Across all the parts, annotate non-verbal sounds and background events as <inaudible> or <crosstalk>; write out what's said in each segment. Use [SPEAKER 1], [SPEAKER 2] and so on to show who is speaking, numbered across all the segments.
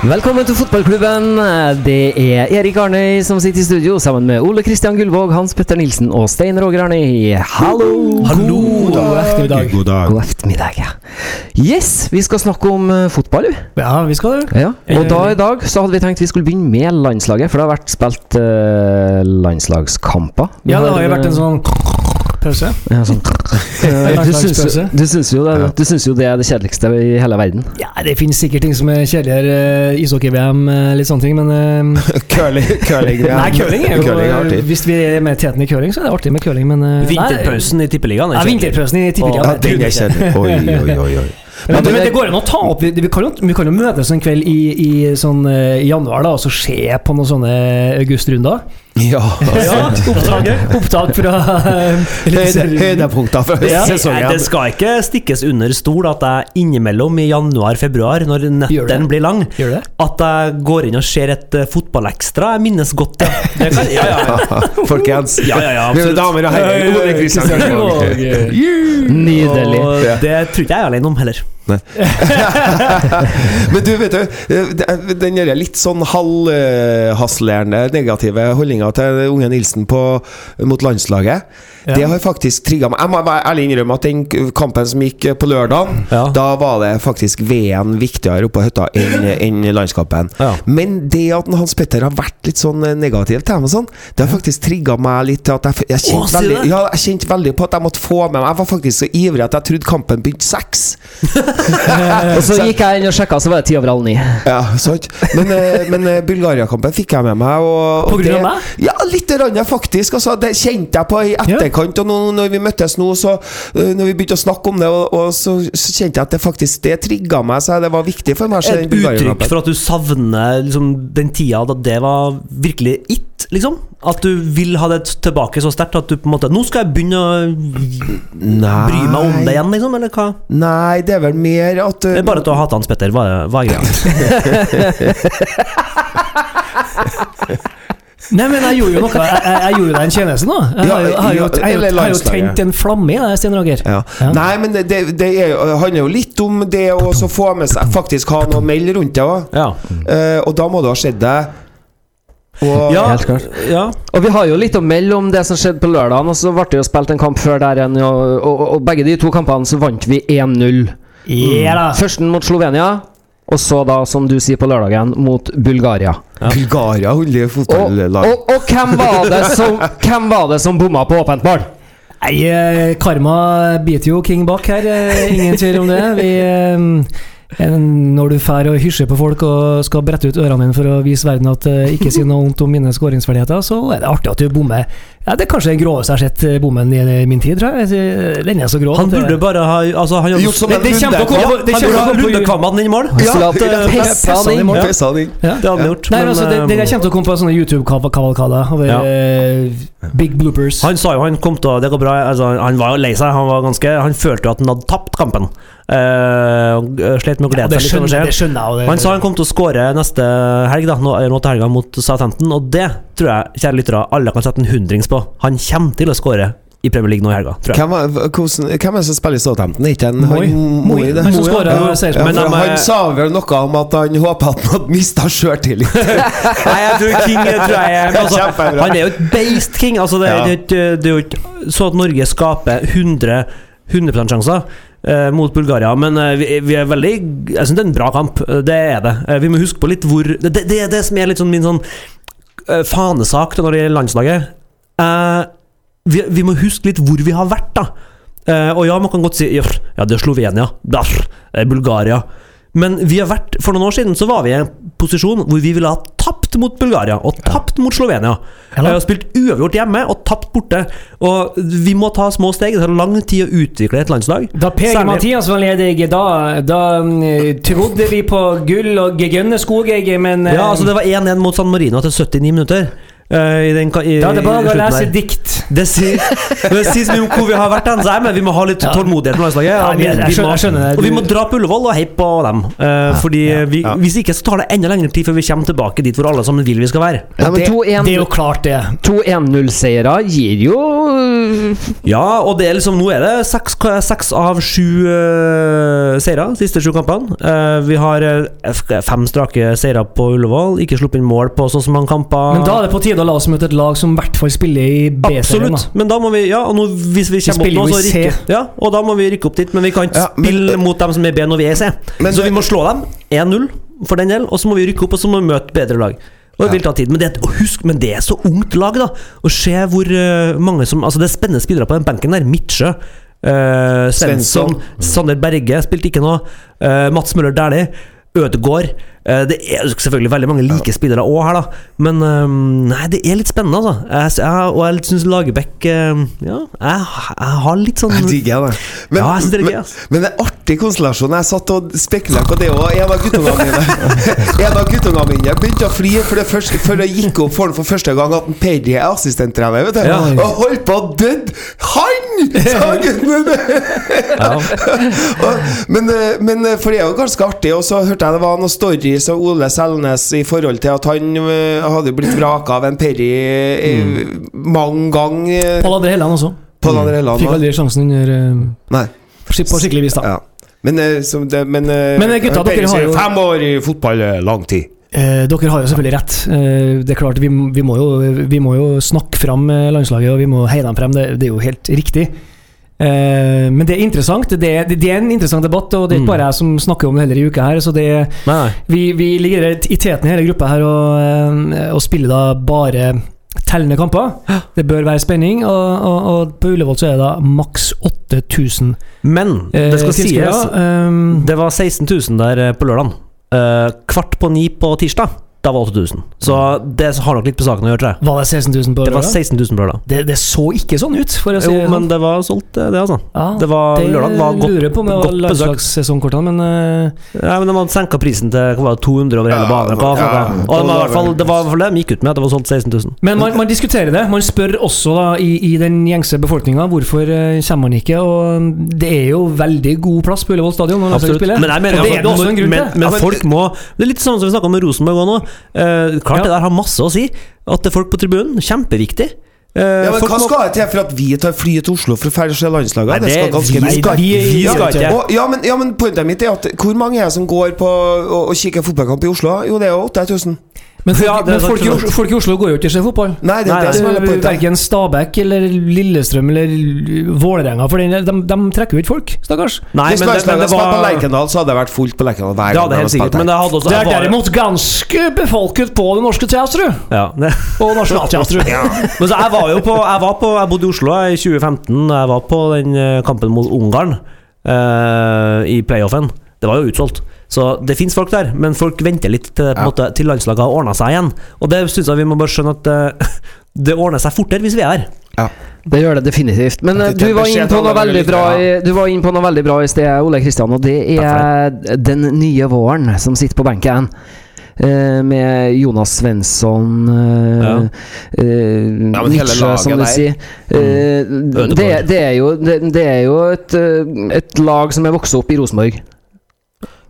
[SPEAKER 1] Velkommen til fotballklubben. Det er Erik Arnøy som sitter i studio sammen med Ole Kristian Gullvåg, Hans Petter Nilsen og Stein Roger Arnøy. Hallo!
[SPEAKER 2] Hallo! God ettermiddag.
[SPEAKER 3] God dag.
[SPEAKER 1] God ettermiddag. ja. Yes, vi skal snakke om eh, fotball. vi.
[SPEAKER 2] Ja, vi skal det.
[SPEAKER 1] Ja. Og da i dag så hadde vi tenkt vi skulle begynne med landslaget, for det har vært spilt eh, landslagskamper. Vi
[SPEAKER 2] Ja, det har jo vært en
[SPEAKER 1] eh,
[SPEAKER 2] sånn pause.
[SPEAKER 1] ja,
[SPEAKER 2] <laughs>
[SPEAKER 1] sånn. Eh, du syns jo-
[SPEAKER 2] landslagspause.
[SPEAKER 1] Du syns jo, det- du syns jo det er det kjedeligste i hele verden.
[SPEAKER 2] Ja, det finnes sikkert ting som er kjedeligere. eh, Ishockey-VM, eh, litt sånne ting, men eh,
[SPEAKER 3] Curling, curling
[SPEAKER 2] Nei, curling er jo eh,
[SPEAKER 3] Curling er artig.
[SPEAKER 2] Hvis vi er med teten i curling, så er det artig med curling, men eh,
[SPEAKER 4] Vinterpausen i Tippeligaen.
[SPEAKER 2] Nei, ja, vinterpausen i
[SPEAKER 4] Åh,
[SPEAKER 3] Ja,
[SPEAKER 2] tippeligaen.
[SPEAKER 3] den er kjedelig. Oi, oi, oi. oi.
[SPEAKER 2] Men, men det går an å ta opp Vi, vi, kan, jo, vi kan jo møtes en kveld i, i, sånn, eh, i januar da, og så se på noen sånne augustrunder.
[SPEAKER 3] Ja.
[SPEAKER 2] <laughs> opptaket. Opptak fra eh,
[SPEAKER 3] Høyde,
[SPEAKER 2] Eliteserien.
[SPEAKER 3] høydepunkter fra
[SPEAKER 2] Ja.
[SPEAKER 4] Nei, det
[SPEAKER 3] sesongen.
[SPEAKER 4] skal ikke stikkes under stol at jeg innimellom i januar-februar, når
[SPEAKER 2] Gjør det?
[SPEAKER 4] netten blir lang,
[SPEAKER 2] Gjør det?
[SPEAKER 4] at jeg går inn og ser et eh, fotballekstra. Jeg minnes godt det. <laughs> det kan, ja, ja, ja.
[SPEAKER 3] <laughs> Folkens.
[SPEAKER 4] Ja, ja, ja,
[SPEAKER 3] Mine
[SPEAKER 4] absolutt.
[SPEAKER 3] damer og herrer. Ole Kristian Gullvåg.
[SPEAKER 1] Nydelig.
[SPEAKER 4] Og
[SPEAKER 3] Ja.
[SPEAKER 4] det tror ikke jeg er alene om heller.
[SPEAKER 3] <laughs> Men du, vet du, det- den der litt sånn halvhaslerende negative holdninga til unge Nilsen på, mot landslaget,
[SPEAKER 2] Ja.
[SPEAKER 3] det har faktisk trigga meg. Jeg må være ærlig innrømme at den kampen som gikk eh, på lørdag,
[SPEAKER 4] Ja.
[SPEAKER 3] da var det faktisk VM viktigere oppe på hytta enn enn landskampen.
[SPEAKER 4] Ja.
[SPEAKER 3] Men det at Hans Petter har vært litt sånn negativ til dem og sånn, det har faktisk trigga meg litt til at jeg, jeg,
[SPEAKER 4] Å,
[SPEAKER 3] kjente
[SPEAKER 4] sier du
[SPEAKER 3] veldig,
[SPEAKER 4] det?
[SPEAKER 3] ja, jeg kjente veldig på at jeg måtte få med meg Jeg var faktisk så ivrig at jeg trodde kampen begynte seks.
[SPEAKER 1] Og så gikk jeg inn og sjekka, så var det ti over halv ni.
[SPEAKER 3] Ja, sant. Men, eh, men eh, Bulgaria-kampen fikk jeg med meg. Og, og
[SPEAKER 2] På grunn av
[SPEAKER 3] det-
[SPEAKER 2] meg?
[SPEAKER 3] Ja, litt rann, ja, faktisk. Altså, det kjente jeg på i etterkant. Og nå, når vi møttes nå, så eh, Når vi begynte å snakke om det, og, og så, så kjente jeg at det faktisk Det trigga meg, så det var viktig for meg. Så
[SPEAKER 4] Et uttrykk for at du savner liksom, den tida da det var virkelig it, liksom? At du vil ha det tilbake så sterkt at du på en måte Nå skal jeg begynne å
[SPEAKER 3] Nei.
[SPEAKER 4] bry meg om det igjen, liksom? Eller hva?
[SPEAKER 3] Nei, det er vel mer at eh,
[SPEAKER 4] Det er bare at du har hatt Hans Petter. Hva er hva er greia?
[SPEAKER 2] Nei, men jeg gjorde jo noe. Jeg, jeg, jeg gjorde deg en tjeneste nå. Jeg
[SPEAKER 3] Ja,
[SPEAKER 2] har jo, jeg har jo, jeg har jo,
[SPEAKER 3] eller
[SPEAKER 2] jeg har jo
[SPEAKER 3] landslaget.
[SPEAKER 2] tent en flamme i deg, Sten Roger.
[SPEAKER 3] ja. Nei, men det, det, det er, jo- handler jo litt om det å også få med seg Faktisk ha noe meld rundt det òg.
[SPEAKER 4] Ja.
[SPEAKER 3] og da må det ha skjedd deg. Og
[SPEAKER 4] Ja,
[SPEAKER 1] Helt klart.
[SPEAKER 4] ja.
[SPEAKER 1] Og vi har jo litt å melde om det som skjedde på lørdagen. Og så ble det jo spilt en kamp før der igjen, og, og, og begge de to kampene så vant vi 1-0.
[SPEAKER 2] Ja da.
[SPEAKER 1] Førsten mot Slovenia, og så da, som du sier, på lørdagen mot Bulgaria.
[SPEAKER 3] Bulgaria holder
[SPEAKER 1] Og,
[SPEAKER 3] fotballag.
[SPEAKER 1] og, og hvem, var det som, hvem var det som bomma på åpent mål?
[SPEAKER 2] Nei, eh, karma biter jo king bak her. eh, Ingen tvil om det. Vi, eh, en- når du fær og hysjer på folk og skal brette ut ørene dine for å vise verden at eh, ikke si noe vondt om mine skåringsferdigheter, så er det artig at du bommer. Ja, det er kanskje den groveste jeg har sett eh, bommen i min tid, tror jeg. Den er så grov.
[SPEAKER 4] Han
[SPEAKER 2] at det-
[SPEAKER 4] burde bare ha altså, han,
[SPEAKER 3] Gjort som en
[SPEAKER 4] det, det kommer til å komme
[SPEAKER 3] runde.
[SPEAKER 4] Det
[SPEAKER 2] Han
[SPEAKER 4] kommer
[SPEAKER 2] burde
[SPEAKER 4] til å
[SPEAKER 2] ha
[SPEAKER 4] komme rundekvammen inn i mål. eh,
[SPEAKER 1] Ja, Slapp
[SPEAKER 3] det- det-
[SPEAKER 1] pessa
[SPEAKER 3] pessa
[SPEAKER 1] han inn.
[SPEAKER 3] i mål.
[SPEAKER 1] Ja.
[SPEAKER 3] Pessa han inn.
[SPEAKER 2] Ja.
[SPEAKER 4] Det hadde han gjort.
[SPEAKER 2] Nei,
[SPEAKER 4] men,
[SPEAKER 2] altså, det,
[SPEAKER 4] eh,
[SPEAKER 2] Dere kommer til å komme på sånne YouTube-kavalkader over
[SPEAKER 4] Ja.
[SPEAKER 2] eh, big bloopers.
[SPEAKER 4] han sa jo han kom til å Det går bra. Altså, han var jo lei seg. Han, var ganske, han følte jo at han hadde tapt kampen. Eh, og, eh, slet med å
[SPEAKER 2] Ja,
[SPEAKER 4] glede
[SPEAKER 2] det,
[SPEAKER 4] seg litt. over
[SPEAKER 2] skjønner, det
[SPEAKER 4] seieren.
[SPEAKER 2] skjønner jeg. og det-
[SPEAKER 4] Han sa han kom til å skåre neste helg, da nå, eller nå til helga mot Southampton. Og det tror jeg, kjære lyttere, alle kan sette en hundrings på. Han kommer til å skåre i Premier League nå i helga, tror jeg.
[SPEAKER 3] Hvem, er- hvordan, hvem er det som spiller i Southampton? Er Ikke en
[SPEAKER 2] Moi. Moi,
[SPEAKER 3] det?
[SPEAKER 2] han som
[SPEAKER 3] Moi,
[SPEAKER 2] skårer
[SPEAKER 3] ja.
[SPEAKER 2] og sier-
[SPEAKER 3] ja,
[SPEAKER 4] Men
[SPEAKER 3] for
[SPEAKER 4] de er-
[SPEAKER 3] Han sa vel noe om at han håpa at han hadde mista
[SPEAKER 4] <laughs>
[SPEAKER 3] sjøltillit.
[SPEAKER 4] Nei, jeg tror King jeg tror jeg, men altså,
[SPEAKER 3] Kjempebra.
[SPEAKER 4] Han er jo et beist king. Altså, det,
[SPEAKER 3] Ja.
[SPEAKER 4] det, er jo ikke- det er jo ikke så at Norge skaper 100, 100 sjanser eh, mot Bulgaria, men eh, vi, vi er veldig Jeg syns det er en bra kamp. eh, Det er det. Eh, vi må huske på litt hvor Det, det, det er det som er litt sånn min sånn eh, fanesak da, når det gjelder landslaget. Eh, vi, vi må huske litt hvor vi har vært, da. Eh, og ja, man kan godt si «Jøff, Ja, det er Slovenia. Daff, det er Bulgaria. Men vi har vært, for noen år siden så var vi i en posisjon hvor vi ville ha tapt mot Bulgaria og tapt mot Slovenia.
[SPEAKER 2] Ja
[SPEAKER 4] Vi
[SPEAKER 2] da.
[SPEAKER 4] har spilt uavgjort hjemme og tapt borte. Og vi må ta små steg. Det tar lang tid å utvikle et landslag.
[SPEAKER 2] Da Per
[SPEAKER 4] Særlig-
[SPEAKER 2] Mathias var ledig, da, da mm, trodde vi på gull og gegønneskog, jeg, men eh,
[SPEAKER 4] altså, Ja, altså Det var 1-1 mot San Marino etter 79 minutter. eh, i den, ka- i,
[SPEAKER 2] da er det
[SPEAKER 4] i
[SPEAKER 2] bare å
[SPEAKER 4] slutten
[SPEAKER 2] lese
[SPEAKER 4] der.
[SPEAKER 2] dikt.
[SPEAKER 4] Det sier, det sier så mye om hvor vi har vært hen, så jeg mener vi må ha litt tålmodighet med landslaget.
[SPEAKER 2] Ja,
[SPEAKER 4] og vi-
[SPEAKER 2] jeg- jeg
[SPEAKER 4] vi må-
[SPEAKER 2] skjønner- jeg skjønner det.
[SPEAKER 4] Og vi må
[SPEAKER 2] Du-
[SPEAKER 4] dra på Ullevål og heie på dem. eh, Fordi vi,
[SPEAKER 3] ja.
[SPEAKER 4] Hvis ikke så tar det enda lengre tid før vi kommer tilbake dit hvor alle sammen vil vi skal være.
[SPEAKER 1] Ja, men
[SPEAKER 3] Det-
[SPEAKER 2] Det er jo
[SPEAKER 1] 2-1
[SPEAKER 2] klart, det.
[SPEAKER 1] 2-1-0-seiere gir jo
[SPEAKER 4] Ja, og det er liksom, nå er det seks, seks av sju uh, seire, siste sju kampene. Eh, vi har eh, f- fem strake seire på Ullevål, ikke sluppet inn mål på sånn som mange kamper.
[SPEAKER 2] Men da er det på tide å la oss møte et lag som i hvert fall spiller i B-serien.
[SPEAKER 4] Absolutt,
[SPEAKER 2] da.
[SPEAKER 4] men da må vi Ja, og nå, hvis vi kommer
[SPEAKER 2] spiller
[SPEAKER 4] opp
[SPEAKER 2] jo
[SPEAKER 4] nå, så
[SPEAKER 2] i C.
[SPEAKER 4] rykker ja, Og da må vi rykke opp dit, men vi kan ikke
[SPEAKER 3] Ja, men-
[SPEAKER 4] spille mot dem som er B når vi er i C.
[SPEAKER 3] Men
[SPEAKER 4] så
[SPEAKER 3] det-
[SPEAKER 4] vi må slå dem 1-0 for den del, og så må vi rykke opp, og så må vi møte bedre lag. Og det vil ta tid, men det, er et- og husk, men det er så ungt lag, da. Å se hvor eh, mange som Altså, det er spennende spillere på den benken der. Midtsjø. eh, Svensson.
[SPEAKER 3] Svensson.
[SPEAKER 4] Sander Berge spilte ikke noe. eh, Mats Møller Dæhlie. Ødegård. eh, det er jo selvfølgelig veldig mange like spillere òg her, da. Men eh, nei, det er litt spennende, altså. Jeg, s- jeg, og jeg syns Lagerbäck eh, Ja, jeg, jeg har litt sånn
[SPEAKER 3] Jeg digger det. Men,
[SPEAKER 4] Ja, jeg synes det er gøy,
[SPEAKER 3] men,
[SPEAKER 4] ass.
[SPEAKER 3] men det er artig konstellasjon. Jeg satt og spekulerte på det òg. En av guttungene mine <laughs> En av guttungene mine begynte å flire for det første, før det gikk opp for ham for første gang at en Perry er assistenttrener. vet du.
[SPEAKER 4] Ja.
[SPEAKER 3] Og holdt på å dø! Han!
[SPEAKER 4] <laughs>
[SPEAKER 3] sa gutten.
[SPEAKER 4] ja.
[SPEAKER 3] Og- men, eh, men eh, for det er jo ganske artig, og så hørte jeg det var noen stories av Ole Selnes i forhold til at han eh, hadde blitt vraka av en Perry eh, mange ganger.
[SPEAKER 2] Pål André Helland også.
[SPEAKER 3] På den andre
[SPEAKER 2] Fikk
[SPEAKER 3] landet.
[SPEAKER 2] aldri sjansen under eh,
[SPEAKER 3] Nei.
[SPEAKER 2] skik- På skikkelig vis, da.
[SPEAKER 3] Ja. Men, eh, som det, men, eh,
[SPEAKER 2] Men, eh, gutta,
[SPEAKER 3] Per
[SPEAKER 2] dere har
[SPEAKER 3] sier
[SPEAKER 2] jo-
[SPEAKER 3] Fem år i fotball er lang tid.
[SPEAKER 2] Eh, dere har jo selvfølgelig rett. Eh, det er klart, vi, m- vi, må jo, vi må jo snakke fram eh, landslaget, og vi må heie dem frem. Det, det er jo helt riktig. Eh, men det er interessant. Det, det, det er en interessant debatt, og det er
[SPEAKER 4] Mm.
[SPEAKER 2] ikke bare jeg som snakker om det heller i uka her. Så det,
[SPEAKER 4] Nei, nei.
[SPEAKER 2] vi, vi ligger i teten i hele gruppa her og, eh, og spiller da bare tellende kamper. Det bør være spenning, og, og, og på Ullevål så er det da maks 8000
[SPEAKER 4] Men
[SPEAKER 2] eh,
[SPEAKER 4] det skal
[SPEAKER 2] tilskuere.
[SPEAKER 4] sies,
[SPEAKER 2] Eh,
[SPEAKER 4] det var 16 000 der eh, på lørdag. kvart på ni på tirsdag, da var 8000. Så det har nok litt på saken å gjøre, tror jeg.
[SPEAKER 2] var det 16 000 på
[SPEAKER 4] Det var
[SPEAKER 2] lørdag?
[SPEAKER 4] 16 000 Mm. på lørdag.
[SPEAKER 2] Det, det så ikke sånn ut, for å si
[SPEAKER 4] Jo,
[SPEAKER 2] det
[SPEAKER 4] men
[SPEAKER 2] sånn.
[SPEAKER 4] det var solgt, eh, det, altså.
[SPEAKER 2] Ja.
[SPEAKER 4] Det var, lørdag var
[SPEAKER 2] Det
[SPEAKER 4] godt,
[SPEAKER 2] lurer jeg på om det var
[SPEAKER 4] godt besøkt.
[SPEAKER 2] landslagssesongkortene, men eh,
[SPEAKER 4] Ja, men De hadde senka prisen til hva var det, 200 over
[SPEAKER 3] Ja,
[SPEAKER 4] hele banen. Hva,
[SPEAKER 3] ja, ja.
[SPEAKER 4] Og det var, i hvert fall, det var i hvert fall det de gikk ut med, at det var solgt 16 000.
[SPEAKER 2] Men man, man diskuterer det. Man spør også da, i, i den gjengse befolkninga hvorfor eh, kommer man ikke. Og det er jo veldig god plass på Ullevål stadion. når landslaget
[SPEAKER 4] Absolutt.
[SPEAKER 2] spiller.
[SPEAKER 4] Men jeg mener
[SPEAKER 2] og det
[SPEAKER 4] altså,
[SPEAKER 2] er det også en grunn
[SPEAKER 4] men,
[SPEAKER 2] til.
[SPEAKER 4] men
[SPEAKER 3] Ja, men-
[SPEAKER 4] folk må Det er litt sånn som vi snakka med Rosenborg òg nå. Eh, klart
[SPEAKER 2] Ja.
[SPEAKER 4] det der har masse å si. At det er folk på tribunen. Kjempeviktig. Eh,
[SPEAKER 3] Ja, men
[SPEAKER 4] folk
[SPEAKER 3] Hva
[SPEAKER 4] må-
[SPEAKER 3] skal det til for at vi tar flyet til Oslo for å ferdig se landslaget?
[SPEAKER 4] Nei,
[SPEAKER 3] Det skal
[SPEAKER 4] det-
[SPEAKER 3] ganske
[SPEAKER 4] vi
[SPEAKER 3] det skal-
[SPEAKER 4] skal- vi
[SPEAKER 3] Ja,
[SPEAKER 4] skal ikke.
[SPEAKER 3] og- Ja, men, ja, men pointet mitt er at hvor mange er det som går på og, og kikker fotballkamp i Oslo? Jo, det er jo 8000.
[SPEAKER 2] Men, folk,
[SPEAKER 4] Ja, det er
[SPEAKER 2] men folk, i
[SPEAKER 4] sant.
[SPEAKER 2] Os- folk i Oslo går jo ikke til å se fotball.
[SPEAKER 3] Nei, det er
[SPEAKER 4] Nei,
[SPEAKER 3] det som er pointet.
[SPEAKER 2] Verken Stabæk eller Lillestrøm eller Vålerenga. For den- de, de trekker jo ikke folk, stakkars.
[SPEAKER 4] Nei,
[SPEAKER 3] Hvis
[SPEAKER 4] men det, men
[SPEAKER 3] landslaget
[SPEAKER 4] det
[SPEAKER 3] hadde spilt på
[SPEAKER 4] var
[SPEAKER 3] Lerkendal, så hadde det vært fullt på Lerkendal hver
[SPEAKER 4] det hadde helt
[SPEAKER 3] de
[SPEAKER 4] sikkert,
[SPEAKER 3] spilte
[SPEAKER 4] men det hadde også
[SPEAKER 2] Det er
[SPEAKER 4] var-
[SPEAKER 2] derimot ganske befolket på det norske teatret
[SPEAKER 4] ja, det. <laughs>
[SPEAKER 2] og Nationaltheatret.
[SPEAKER 4] Men så jeg var jo på Jeg, var på, jeg bodde i Oslo jeg, i 2015. Jeg var på den eh, kampen mot Ungarn eh, i playoffen. Det var jo utsolgt. Så det fins folk der, men folk venter litt til, det på en
[SPEAKER 3] Ja.
[SPEAKER 4] måte, til landslaget har ordna seg igjen. Og det syns jeg vi må bare skjønne at eh, <laughs> det ordner seg fortere hvis vi er her.
[SPEAKER 1] Det gjør det definitivt. Men eh,
[SPEAKER 3] Det-
[SPEAKER 1] du
[SPEAKER 3] det
[SPEAKER 1] var
[SPEAKER 3] beskjed
[SPEAKER 1] inne på
[SPEAKER 3] til
[SPEAKER 1] noe
[SPEAKER 3] alle
[SPEAKER 1] veldig bra i,
[SPEAKER 3] lytterne.
[SPEAKER 1] Du var inne på noe veldig bra i sted, Ole Kristian, og det er den nye våren som sitter på benken. eh, Med Jonas Svensson
[SPEAKER 4] Ja.
[SPEAKER 1] eh, eh,
[SPEAKER 3] Ja, men hele
[SPEAKER 1] Nietzsche, som du
[SPEAKER 3] laget der.
[SPEAKER 1] sier. Eh, det, det er jo, det, det er jo et, eh, et lag som er vokst opp i Rosenborg.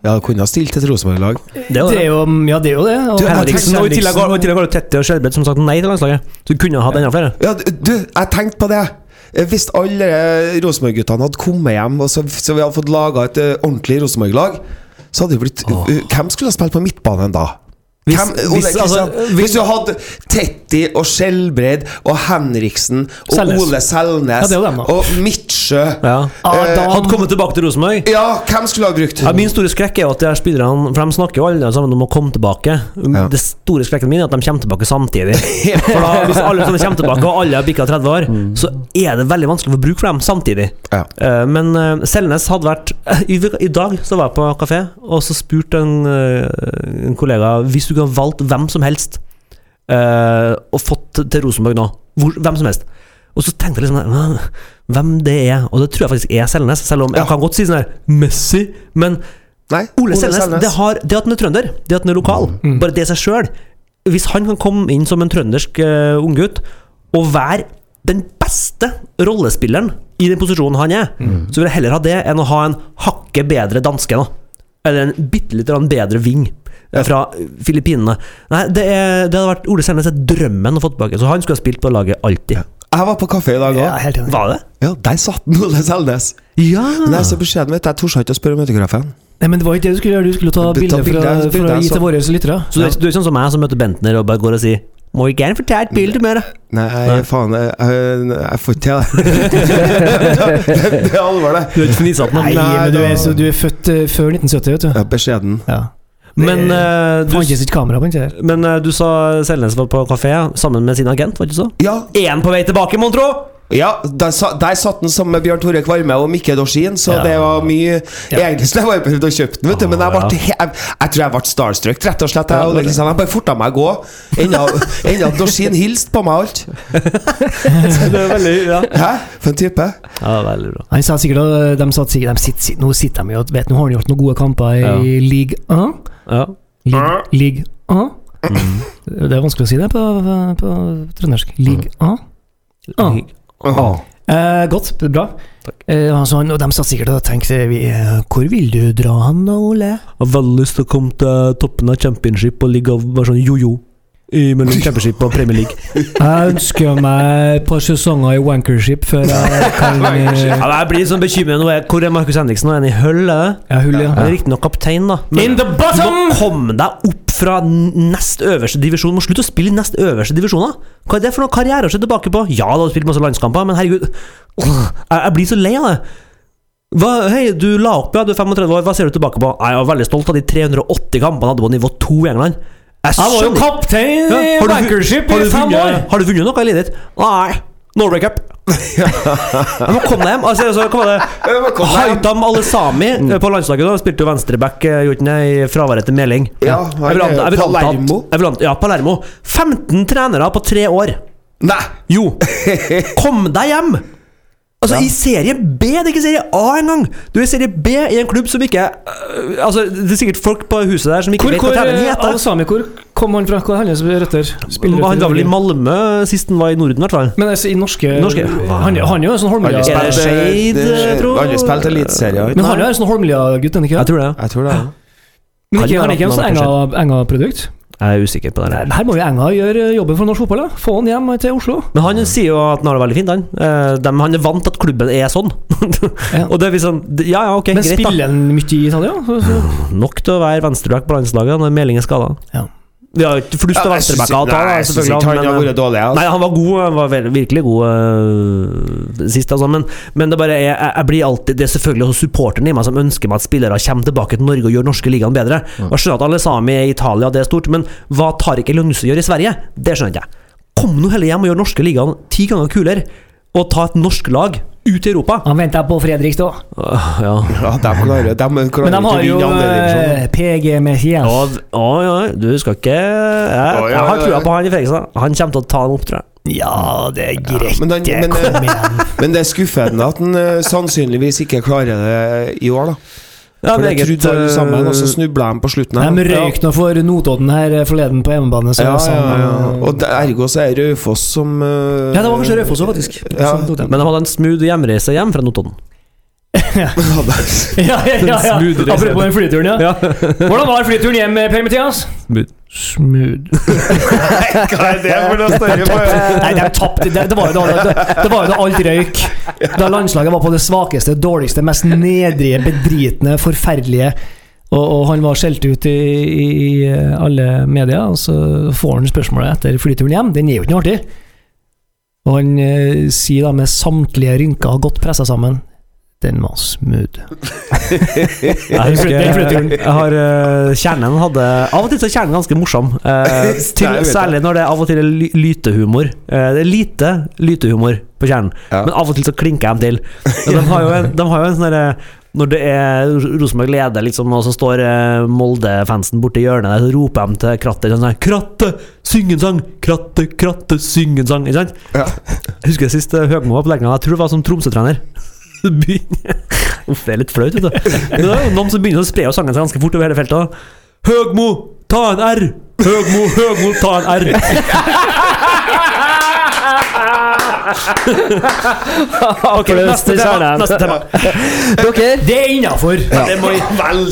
[SPEAKER 3] Ja, det kunne ha stilt et Rosenborg-lag.
[SPEAKER 4] Det er jo det.
[SPEAKER 2] jo, ja, det er jo det. Og
[SPEAKER 3] Du, jeg
[SPEAKER 4] Henriksen, og I tillegg har- og i
[SPEAKER 2] Henriksen-
[SPEAKER 4] tillegg har jo Tette og Skjelbred som sagt nei til landslaget. Så du kunne ha hatt enda flere.
[SPEAKER 3] Ja, du, du, jeg tenkte på det. Eh, Hvis alle eh, Rosenborg-guttene hadde kommet hjem, og så, så vi hadde fått laga et eh, ordentlig Rosenborg-lag, så hadde det blitt eh, Hvem skulle ha spilt på midtbanen da?
[SPEAKER 4] Hvis-
[SPEAKER 3] Hvem, Ole
[SPEAKER 4] hvis- altså,
[SPEAKER 3] Kristian, hvis du hadde Tetti og Skjelbred og Henriksen og
[SPEAKER 2] Selnes.
[SPEAKER 3] Ole
[SPEAKER 2] Ja,
[SPEAKER 3] Selnes
[SPEAKER 2] det er jo dem, da.
[SPEAKER 3] og Midtsjø
[SPEAKER 4] Ja.
[SPEAKER 2] Ah, da-
[SPEAKER 4] Eh, Hadde kommet tilbake til Rosenborg.
[SPEAKER 3] Ja, hvem skulle ha brukt?
[SPEAKER 4] Ja, min store skrekk er jo at de her spillerne For de snakker jo alle sammen om å komme tilbake.
[SPEAKER 3] Ja.
[SPEAKER 4] Det store skrekken min er at de kommer
[SPEAKER 3] <laughs>
[SPEAKER 4] tilbake samtidig. For da, Hvis alle sammen kommer tilbake, og alle har bikka 30 år,
[SPEAKER 3] Mm.
[SPEAKER 4] så er det veldig vanskelig å få bruk for dem samtidig.
[SPEAKER 3] Ja.
[SPEAKER 4] Eh, Men eh, Selnes hadde vært <laughs> I, I dag så var jeg på kafé, og så spurte en, eh, en kollega Hvis du kunne ha valgt hvem som helst eh, og fått til Rosenborg nå, hvor, hvem som helst og så tenkte jeg liksom "Hva- Hvem det er? Og det tror jeg faktisk er Selnes, selv om
[SPEAKER 3] Ja.
[SPEAKER 4] jeg kan godt si sånn her Messi, men
[SPEAKER 3] Nei,
[SPEAKER 4] Ole Selnes, Mm. det, har, det at han er trønder, det at han er lokal, bare det i seg sjøl Hvis han kan komme inn som en trøndersk uh, unggutt eh, og være den beste rollespilleren i den posisjonen han er, så vil jeg heller ha det enn å ha en hakket bedre danske. da Eller en bitte litt grann bedre ving eh, fra Filippinene. Nei, det, er, det hadde vært Ole Selnes er drømmen å få tilbake. Så han skulle ha spilt på laget alltid.
[SPEAKER 3] Jeg var på kafé i dag òg.
[SPEAKER 2] Ja, helt enig.
[SPEAKER 4] Var det?
[SPEAKER 3] Ja, der satt den, <laughs> Ole Selnes.
[SPEAKER 4] Ja!
[SPEAKER 3] Men jeg er så beskjeden, vet du. Jeg torde ikke å spørre om autografen.
[SPEAKER 2] Nei, men det var ikke det du skulle gjøre. Du skulle ta
[SPEAKER 3] Du tar
[SPEAKER 2] bilder for, å- for
[SPEAKER 3] bilder,
[SPEAKER 2] å
[SPEAKER 3] bilder,
[SPEAKER 2] gi
[SPEAKER 3] så-
[SPEAKER 2] til våre lyttere.
[SPEAKER 4] Så du, er- du er ikke sånn som meg som møter Bentner og bare går og sier Må vi gjerne fortelle et bilde med deg.
[SPEAKER 3] Nei, faen, jeg, jeg, jeg får ikke til det. <laughs> det. Det er alvor, det.
[SPEAKER 4] Du er ikke fnisete nå.
[SPEAKER 2] Nei,
[SPEAKER 3] Nei,
[SPEAKER 2] men du er,
[SPEAKER 3] da-
[SPEAKER 2] så du er født eh, før 1970, vet du.
[SPEAKER 3] Ja, beskjeden.
[SPEAKER 2] Ja.
[SPEAKER 4] Men, eh,
[SPEAKER 2] Det fantes
[SPEAKER 4] du,
[SPEAKER 2] ikke kamera på den der.
[SPEAKER 4] men eh, du sa Selnes var på kafé sammen med sin agent, var det ikke så?
[SPEAKER 3] Ja,
[SPEAKER 4] Én på vei tilbake, mon tro!
[SPEAKER 3] ja der, sa- der satt den sammen med Bjørn Tore Kvarme og Mikke Dorsin, så
[SPEAKER 4] Ja.
[SPEAKER 3] det var mye Egentlig skulle jeg bare prøvd å kjøpe den, vet du, men jeg,
[SPEAKER 4] Ah,
[SPEAKER 3] ble, he- jeg, jeg tror jeg ble starstruck, rett og slett. Jeg, og liksom, jeg bare forta meg å gå. Enda enda Dorsin hilste på meg og alt.
[SPEAKER 4] <laughs> Det er veldig, ja.
[SPEAKER 3] Hæ? For en type.
[SPEAKER 4] ja, veldig bra.
[SPEAKER 2] Han sa sikkert at eh, de satt sikkert de sitter, sitter, Nå sitter de jo og vet Nå har han gjort noen gode kamper i
[SPEAKER 4] Ja.
[SPEAKER 2] league 1.
[SPEAKER 4] Ja.
[SPEAKER 2] League, league 1. Det er vanskelig å si det på, på trøndersk. League 1. Ah. Eh, godt. Bra. Eh, han sa han, og de satt sikkert og tenkte vi, eh, Hvor vil du dra han da, Ole?
[SPEAKER 4] Jeg har veldig lyst til å komme til toppen av championship og ligge og være sånn jojo i mellom <laughs> championship og Premier League.
[SPEAKER 2] Jeg ønsker meg et par sesonger i wankership før <laughs> jeg kan
[SPEAKER 4] Ja,
[SPEAKER 2] eh,
[SPEAKER 4] men jeg blir sånn bekymret nå. er- Hvor er Markus Henriksen? Er han i høll? er det?
[SPEAKER 2] Ja, hull, ja.
[SPEAKER 4] Han er riktignok kaptein, da.
[SPEAKER 2] In the
[SPEAKER 4] du
[SPEAKER 2] bottom!
[SPEAKER 4] må komme deg opp fra n- nest øverste divisjon. Du Må slutte å spille i nest øverste divisjon, da. Hva er det for noen karriere å se tilbake på? Ja, du har spilt masse landskamper, men herregud Åh, Jeg jeg blir så lei av det. Hva, hei, du la opp, ja. Du er 35 år. Hva ser du tilbake på? Jeg er veldig stolt av de 380 kampene jeg hadde på nivå 2 i England. Jeg
[SPEAKER 2] Jeg var jo
[SPEAKER 4] skjønner-
[SPEAKER 2] kaptein i
[SPEAKER 4] Ja, har du fun-
[SPEAKER 2] wankership i
[SPEAKER 4] har du
[SPEAKER 2] fem
[SPEAKER 4] funnet-
[SPEAKER 2] år!
[SPEAKER 4] Har du funnet noe i livet ditt? Nei. Norway
[SPEAKER 2] <laughs>
[SPEAKER 4] Cup. Jeg må komme deg hjem. Altså, altså, hva var det?
[SPEAKER 3] Jeg må komme deg hjem.
[SPEAKER 4] Haitam Alesami eh, på landslaget da, spilte jo venstreback eh, gjorde han det, i fraværet til Meling.
[SPEAKER 3] Ja,
[SPEAKER 4] Jeg vil anta- jeg vil anta at-
[SPEAKER 3] Palermo.
[SPEAKER 4] jeg vil anta- Ja, Palermo. 15 trenere på tre år.
[SPEAKER 3] Nei! <laughs>
[SPEAKER 4] Jo, kom deg hjem! Altså, i serie B, det er ikke serie A engang! Du er i serie B i en klubb som ikke øh, Altså, det er sikkert folk på huset der som ikke
[SPEAKER 2] Hvor,
[SPEAKER 4] vet
[SPEAKER 2] hvor,
[SPEAKER 4] hva treneren
[SPEAKER 2] eh,
[SPEAKER 4] heter.
[SPEAKER 2] Al-Sami, hvor kom han fra? Hva er hans røtter? Spillerrøtter i
[SPEAKER 4] Han var vel i
[SPEAKER 2] Norge?
[SPEAKER 4] Malmö sist han var i Norden, i hvert fall.
[SPEAKER 2] Men altså, i norske,
[SPEAKER 4] Norske?
[SPEAKER 2] Han, han er jo en sånn
[SPEAKER 3] Aldri
[SPEAKER 4] Er det
[SPEAKER 2] Holmlia...
[SPEAKER 3] spilt, eh,
[SPEAKER 4] Shade,
[SPEAKER 3] det-
[SPEAKER 4] tror
[SPEAKER 3] Aldri spilt eliteserie.
[SPEAKER 2] Men han er jo en sånn Holmlia-gutt, er han ikke?
[SPEAKER 4] Jeg tror det.
[SPEAKER 3] Jeg tror det.
[SPEAKER 2] Men ikke,
[SPEAKER 4] Kan
[SPEAKER 2] han er ikke en
[SPEAKER 4] være
[SPEAKER 2] sånn
[SPEAKER 4] at han har
[SPEAKER 2] Enga- Enga-produkt?
[SPEAKER 4] Jeg er usikker på det.
[SPEAKER 2] Nei,
[SPEAKER 4] der.
[SPEAKER 2] Her må jo Enga gjøre jobben for norsk fotball. da. Få han hjem til Oslo.
[SPEAKER 4] Men han sier jo at han har det veldig fint, han. Eh, dem- han er vant til at klubben er <laughs> sånn.
[SPEAKER 2] Ja.
[SPEAKER 4] Og det er liksom Ja, ja, ok,
[SPEAKER 2] Men
[SPEAKER 4] greit,
[SPEAKER 2] spiller han mye i Italia? Så- så-
[SPEAKER 4] da. Nok til å være venstreback på landslaget når Meling er skada.
[SPEAKER 2] Ja.
[SPEAKER 4] Vi har jo ikke flust av
[SPEAKER 3] Ja, jeg synes
[SPEAKER 4] venstrebacker å
[SPEAKER 3] ikke-
[SPEAKER 4] ta,
[SPEAKER 3] nei,
[SPEAKER 4] da,
[SPEAKER 3] jeg synes ikke han
[SPEAKER 4] selvfølgelig.
[SPEAKER 3] har
[SPEAKER 4] men, eh,
[SPEAKER 3] vært dårlig. Altså.
[SPEAKER 4] Nei, han var god, han var vel- virkelig god eh, sist, altså, men, men det bare er, jeg, jeg blir alltid Det er selvfølgelig også supporteren i meg som ønsker meg at spillere kommer tilbake til Norge og gjør norske ligaen bedre. Og Jeg skjønner at alle sami er i Italia, det er stort, men hva Tariq Elionuse gjør i Sverige, det skjønner ikke jeg. Kom nå heller hjem og gjør norske ligaen ti ganger kulere, og ta et norsk lag ut i Europa.
[SPEAKER 2] Han venter på Fredrikstad.
[SPEAKER 4] Åh, ja.
[SPEAKER 3] Ah, Ja, de klarer, de klarer
[SPEAKER 2] Men de
[SPEAKER 3] ikke å
[SPEAKER 2] har jo
[SPEAKER 3] vinne andre divisjon.
[SPEAKER 2] eh, PG Messias.
[SPEAKER 4] Å, v- å, ja, du skal ikke Jeg,
[SPEAKER 3] Å, ja,
[SPEAKER 4] jeg har
[SPEAKER 3] ja,
[SPEAKER 4] trua
[SPEAKER 3] ja.
[SPEAKER 4] på han i Fredrikstad. Han kommer til å ta en oppdrag.
[SPEAKER 2] Ja, det er greit.
[SPEAKER 3] Men, han,
[SPEAKER 2] det.
[SPEAKER 3] men,
[SPEAKER 2] Kom
[SPEAKER 3] eh,
[SPEAKER 2] igjen.
[SPEAKER 3] <laughs> men det er skuffende at han eh, sannsynligvis ikke klarer det i år, da.
[SPEAKER 4] Ja,
[SPEAKER 3] For det altså.
[SPEAKER 4] meget,
[SPEAKER 3] trodde alle sammen, og så
[SPEAKER 4] eh,
[SPEAKER 3] snubla de på slutten. her.
[SPEAKER 2] De røyk nå for Notodden her eh, forleden på hjemmebane. Så
[SPEAKER 3] Ja,
[SPEAKER 2] sånn,
[SPEAKER 3] ja, ja.
[SPEAKER 2] eh,
[SPEAKER 3] Og det- ergo så er Raufoss som eh,
[SPEAKER 2] Ja, det var kanskje Raufoss òg, faktisk.
[SPEAKER 3] Ja.
[SPEAKER 2] som tok dem.
[SPEAKER 4] Men de hadde en smooth hjemreise hjem fra Notodden.
[SPEAKER 2] <laughs> ja, ja, ja, ja.
[SPEAKER 4] Smooth reise.
[SPEAKER 2] Apropos den flyturen, ja.
[SPEAKER 4] Ja.
[SPEAKER 2] Hvordan var flyturen hjem, eh, Per Mathias?
[SPEAKER 4] Smooth.
[SPEAKER 3] Hva er det for noe større på?
[SPEAKER 2] Eh, Nei, de tapte. Det, det, var jo da, det, det var jo da alt røyk. Da landslaget var på det svakeste, dårligste, mest nedrige, bedritne, forferdelige. Og, og han var skjelt ut i, i i alle media, og så får han spørsmålet etter flyturen hjem. Den er jo ikke noe artig. Og han eh, sier da med samtlige rynker godt pressa sammen Den var smooth.
[SPEAKER 4] Jeg husker
[SPEAKER 2] Den flytturen.
[SPEAKER 4] jeg har, eh, Kjernen hadde Av og til så er kjernen ganske
[SPEAKER 2] <laughs>
[SPEAKER 4] morsom. eh, til,
[SPEAKER 3] Nei, jeg vet
[SPEAKER 4] særlig når det av og til er ly- lytehumor. Eh, det er lite lytehumor på kjernen,
[SPEAKER 3] Ja.
[SPEAKER 4] men av og til så klinker de til. Og De har jo en, de har jo en sånn derre når det er Ro- Rosenborg leder, liksom, og så står eh, Molde-fansen borti hjørnet der, så roper de til krattet sånn her 'Kratte, syng en sang! Kratte, kratte, syng en sang!' Ikke sant?
[SPEAKER 3] <laughs> Ja.
[SPEAKER 4] Jeg husker sist eh, Høgmo var på Lerkendal. Jeg tror det var som Tromsø-trener. <laughs> Så begynner- Uff, det er litt flaut, vet du. Men det er jo noen som begynner å spre jo sangen seg ganske fort over hele feltet. også. Høgmo, ta en R! Høgmo, Høgmo, ta en R! <laughs> Ok,
[SPEAKER 1] Applaus
[SPEAKER 4] neste
[SPEAKER 1] til
[SPEAKER 4] tema.
[SPEAKER 1] Kjernheim.
[SPEAKER 4] Neste tema.
[SPEAKER 1] Dere?
[SPEAKER 2] Det er innafor!
[SPEAKER 4] Det må vi,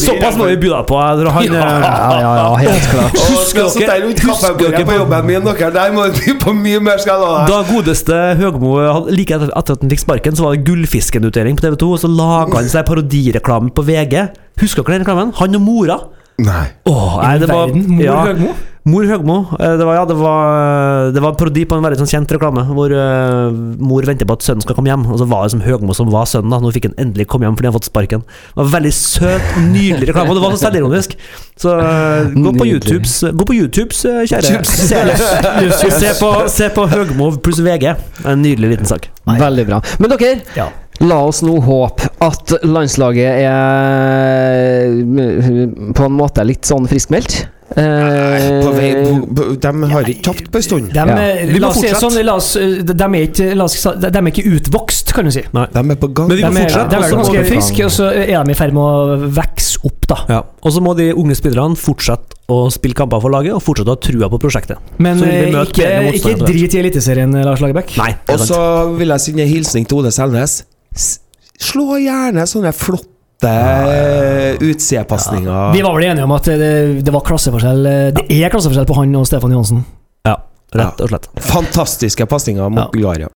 [SPEAKER 4] såpass må vi by deg på. jeg tror Han, eh,
[SPEAKER 1] Ja, ja, ja, helt klart.
[SPEAKER 4] Husker
[SPEAKER 3] Husker
[SPEAKER 4] dere-
[SPEAKER 3] dere
[SPEAKER 4] husker dere
[SPEAKER 3] på
[SPEAKER 4] på-
[SPEAKER 3] jobben min, dere? Der må vi på mye mer, skal jeg love deg.
[SPEAKER 4] Da godeste Høgmo hadde- like etter etter at han fikk sparken, så var det Gullfisken-utdeling på TV2, og så laga han seg parodireklame på VG. Husker dere den reklamen? Han og mora.
[SPEAKER 3] Nei.
[SPEAKER 4] Åh, nei, det var,
[SPEAKER 2] verden, mor
[SPEAKER 4] ja,
[SPEAKER 2] Høgmo?
[SPEAKER 4] Mor Høgmo. Eh, Det var, ja, det var, det var en parodi på en veldig sånn kjent reklame, hvor eh, mor venter på at sønnen skal komme hjem, og så var det som Høgmo som var sønnen. da Nå fikk han endelig komme hjem fordi han har fått sparken. Det var Veldig søt, nydelig reklame, og det var så selvironisk. Så eh, gå på
[SPEAKER 1] Nydelig.
[SPEAKER 4] YouTubes, gå på YouTubes eh, kjære <laughs> seere. Se på, se på Høgmo pluss VG. En nydelig liten sak.
[SPEAKER 1] Veldig bra. Men dere,
[SPEAKER 4] Ja.
[SPEAKER 1] la oss nå håpe at landslaget er mm, på en måte litt sånn friskmeldt. Eh,
[SPEAKER 3] På vei, på, på, de har ikke tapt på en stund.
[SPEAKER 2] De,
[SPEAKER 1] Ja.
[SPEAKER 2] eh,
[SPEAKER 4] Vi må
[SPEAKER 2] la oss si det
[SPEAKER 4] fortsette.
[SPEAKER 2] sånn, la oss, eh, de, er ikke, la oss, si- sånn, de er ikke utvokst, kan du si.
[SPEAKER 3] De er på gang.
[SPEAKER 4] Men vi
[SPEAKER 2] De
[SPEAKER 4] må
[SPEAKER 2] er,
[SPEAKER 4] fortsette,
[SPEAKER 2] de
[SPEAKER 4] og
[SPEAKER 2] er
[SPEAKER 4] så må
[SPEAKER 2] ganske
[SPEAKER 4] vi-
[SPEAKER 2] friske, og så er de i ferd med å vokse opp, da.
[SPEAKER 4] Ja. Og så må de unge spillerne fortsette å spille kamper for laget og fortsette å ha trua på prosjektet.
[SPEAKER 2] Men
[SPEAKER 4] Så vil vi
[SPEAKER 2] eh,
[SPEAKER 4] møte
[SPEAKER 2] ikke,
[SPEAKER 4] bedre
[SPEAKER 2] ikke
[SPEAKER 4] motstandere etter
[SPEAKER 2] drit i Eliteserien, Lars Lagerbäck.
[SPEAKER 4] Nei, det
[SPEAKER 3] Og
[SPEAKER 4] er
[SPEAKER 3] så
[SPEAKER 4] sant.
[SPEAKER 3] vil jeg sende en hilsning til Ole Selnes. S- Slå gjerne sånne flotte utseendepasninger.
[SPEAKER 2] Vi var vel enige om at det, det var klasseforskjell eh, Det er klasseforskjell på han og Stefan Johansen.
[SPEAKER 4] Ja, rett og slett.
[SPEAKER 3] Fantastiske pasninger mot
[SPEAKER 2] Ja.
[SPEAKER 3] Bulgaria.